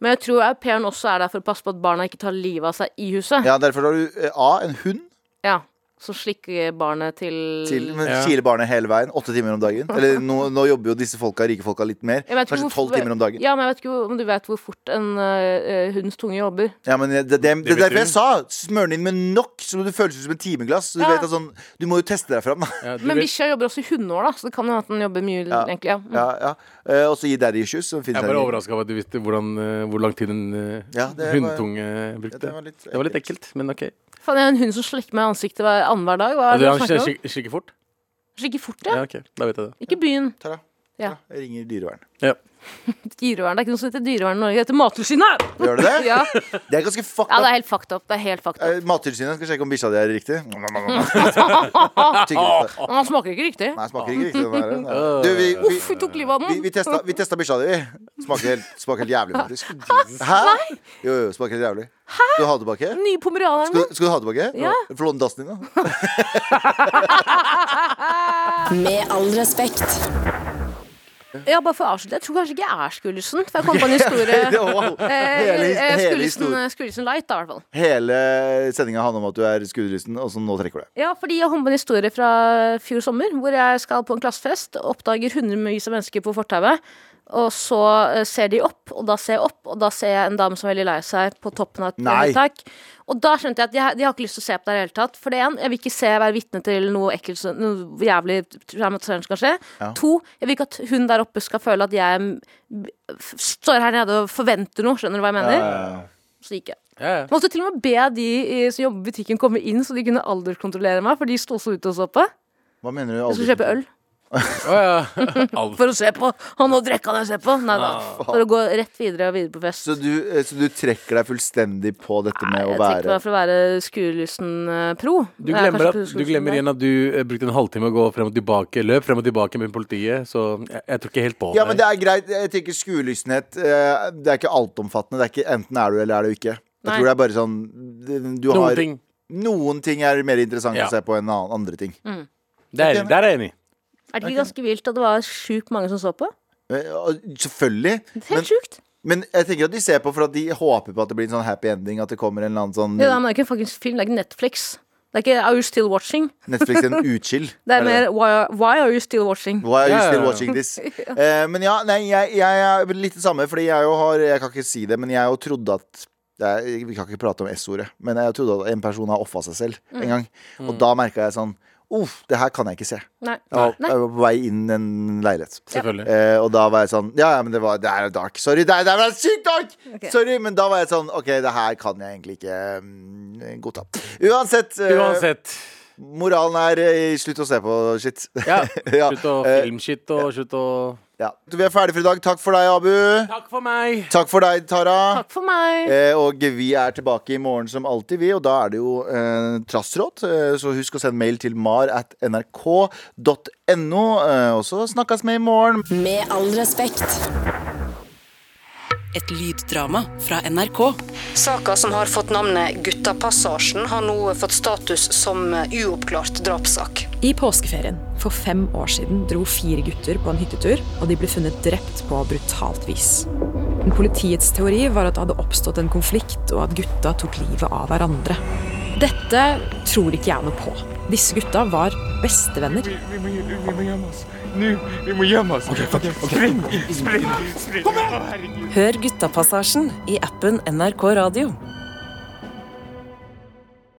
S2: Men jeg tror au pairen også er der for å passe på at barna ikke tar livet av seg i huset.
S4: ja, derfor har du eh, A. En hund.
S2: Ja. Så slikke barnet til,
S4: til,
S2: Mm.
S4: men
S3: Ja.
S4: kiler barnet hele veien, åtte timer om dagen.
S2: (laughs)
S4: Eller nå, nå jobber jo disse folka, rike folka litt mer.
S2: Jeg vet ikke
S4: Kanskje
S2: hvorfor-
S4: tolv timer om dagen.
S2: Ja,
S4: Ja,
S2: men jeg vet ikke om du vet hvor fort en eh, eh, hunds tunge jobber.
S4: men det, det, det,
S3: Det
S4: er derfor jeg
S3: betyr-
S4: sa smør den inn med nok, så du føles ut som en timeglass. Så du,
S2: Ja.
S4: vet at sånn, du må jo teste deg
S2: (laughs)
S4: fram. da.
S3: Ja, du
S2: Men
S3: vet-
S2: bikkja jobber også i hundeår, da, så det kan hende at den jobber mye.
S4: Ja.
S2: egentlig ja. Mm.
S4: Ja, ja. Eh, og så gi daddy issues. Som
S3: jeg
S4: finnes
S3: er
S4: her.
S3: bare overraska over at du visste hvordan, eh, hvor lang tid en eh,
S4: Ja, det var-
S3: hundetunge brukte.
S4: Ja, det var litt
S3: det var litt ekkelt, men OK.
S2: Faen, jeg har en hund som slikker meg i ansiktet hver annenhver dag. Hva er
S3: Ja, du
S2: det
S3: har
S2: du snakker om?
S3: slik- slikker fort?
S2: Slikker fort, ja.
S3: Ja, OK. Da vet jeg det.
S2: Ikke byen.
S4: Tara,
S2: Ja.
S4: jeg ringer dyrevern.
S2: Dyrevern. Det er ikke noe som heter dyrevern i Norge. Det heter Mattilsynet!
S4: Gjør det det?
S2: (laughs) Ja.
S4: Det er ganske fucked
S2: ja, det
S4: up.
S2: er helt fucked up. Det er helt fucked up.
S4: Eh, Mattilsynet skal sjekke om bikkja di er riktig.
S2: (laughs)
S4: Tygger litt.
S2: Men Han smaker ikke riktig.
S4: Eh, Nei, smaker ikke riktig. Den der.
S3: (laughs)
S4: Nei. Du, vi, vi,
S2: Uff, vi tok livet av
S4: vi,
S2: den.
S4: vi, testa, vi testa bikkja di. Smaker helt, smaker helt jævlig, faktisk. Hæ? Jo, jo, smaker helt jævlig. Skal du ha det tilbake?
S2: Nye pomeraneren
S4: Skal,
S2: min.
S4: du- skal du ha det tilbake?
S2: Ja.
S4: For låne dassen din,
S2: (laughs)
S4: da?
S1: Med all respekt.
S2: Ja, bare for å avslutte. Jeg tror kanskje ikke jeg er Skullersen. For Eh, jeg kom på
S4: (laughs)
S2: en historie.
S4: Wow. Hele,
S2: Eh, eh,
S4: his- hele,
S2: Skullersen
S4: historien-
S2: eh, Skullersen Light, da, i hvert fall.
S4: hele sendinga handler om at du er skuddrysten, og så nå trekker du deg.
S2: Ja, fordi jeg kom på en historie fra fjor sommer, hvor jeg skal på en klassefest, oppdager hundrevis av mennesker på fortauet, og så eh, ser de opp, og da ser jeg opp, og da ser jeg en dame som er veldig lei seg på toppen av et
S4: Nei.
S2: høytak. Og da skjønte jeg at jeg, de har ikke lyst til å se på det i det hele tatt. For det en, jeg vil ikke se være vitne til noe ekkelt, som- noe jævlig traumatiserende som kan skje. To, jeg vil ikke at hun der oppe skal føle at jeg mm, f- står her nede og forventer noe, skjønner du hva jeg mener? Så gikk jeg.
S3: Ja, ja.
S2: Jeg måtte til og med be de eh, som jobber i butikken komme inn, så de kunne alderskontrollere meg. For de sto også ute og så på.
S4: Hva mener du?
S2: Jeg skulle kjøpe øl.
S3: Å, ja. Alt.
S2: For å se på! Han og drekka jeg ser på! Nei da. For å gå rett videre og videre på fest.
S4: Ah, Så du, eh, så du trekker deg fullstendig på dette med
S2: Nei,
S4: å
S2: jeg trekker
S4: være
S2: meg for å være skuelysten eh, pro.
S3: Du
S2: Jeg er
S3: glemmer,
S2: kanskje
S3: at,
S2: ikke
S3: du glemmer
S2: skuespiller.
S3: igjen at du eh, brukte en halvtime å gå frem og tilbake, løp frem og tilbake med politiet, så jeg, jeg tror ikke helt på
S4: Ja, men det er greit. Jeg tenker skuelystenhet eh, Det er ikke altomfattende. Det er ikke enten er du eller er du ikke. Jeg
S2: Nei.
S4: tror det er bare sånn du
S3: Noen
S4: har,
S3: ting.
S4: Noen ting er mer interessant
S3: Ja.
S4: å se på enn annen- andre ting.
S2: Mm.
S3: Det er, der er jeg enig.
S2: Er det ikke ganske vilt at det var sjukt mange som så på?
S4: Eh, og Selvfølgelig.
S2: (laughs) Det er
S4: Men,
S2: Helt sjukt.
S4: men jeg tenker at de ser på for at de håper på at det blir en sånn happy ending. At det kommer en eller annen sånn
S2: Ja, da, (laughs) men det er ikke en fuckings film, det er ikke Netflix. Det er ikke Are You Still Watching?
S4: Netflix en utskill.
S2: Det er mer Why Are, why are You Still Watching?
S4: Why are you
S3: Ja, ja,
S4: still
S3: ja.
S4: watching
S2: (laughs)
S4: this? Eh, men ja, nei, jeg, jeg er litt det samme, fordi jeg jo har Jeg kan ikke si det, men jeg jo trodde at jeg, Vi kan ikke prate om S-ordet, men jeg trodde at en person har offa seg selv
S2: Mm.
S4: en gang.
S3: Mm.
S4: Og da merka jeg sånn Uff, det her kan jeg ikke se.
S2: Nei.
S4: Jeg var,
S2: Nei.
S4: jeg var på vei inn i en leilighet.
S3: Selvfølgelig.
S4: Eh, og da var jeg sånn Ja, ja, men det, var, det er jo dark. Sorry, det er, det er sykt dark! Sorry, men da var jeg sånn OK, det her kan jeg egentlig ikke mm, godta. Uansett, eh,
S3: Uansett.
S4: moralen er eh, slutt å se på shit.
S3: Ja.
S4: Eh, (laughs) Ja,
S3: Slutt å
S4: eh,
S3: filmshit og slutt å
S4: Ja. Vi er ferdige for i dag. Takk for deg, Abu.
S3: Takk for meg!
S4: Takk for deg, Tara.
S2: Takk for meg.
S4: Eh, og vi er tilbake i morgen som alltid, vi. Og da er det jo eh, trassråd. Eh, så husk å sende mail til mar at nrk.no. Eh, og så snakkes vi i morgen.
S1: Med all respekt. Et lyddrama fra NRK.
S8: Saka som har fått navnet Guttapassasjen, har nå fått status som uoppklart drapssak.
S9: I påskeferien for fem år siden dro fire gutter på en hyttetur, og de ble funnet drept på brutalt vis. Men Politiets teori var at det hadde oppstått en konflikt, og at gutta tok livet av hverandre. Dette tror ikke jeg noe på. Disse gutta var bestevenner.
S1: Hør Guttapassasjen i appen NRK Radio.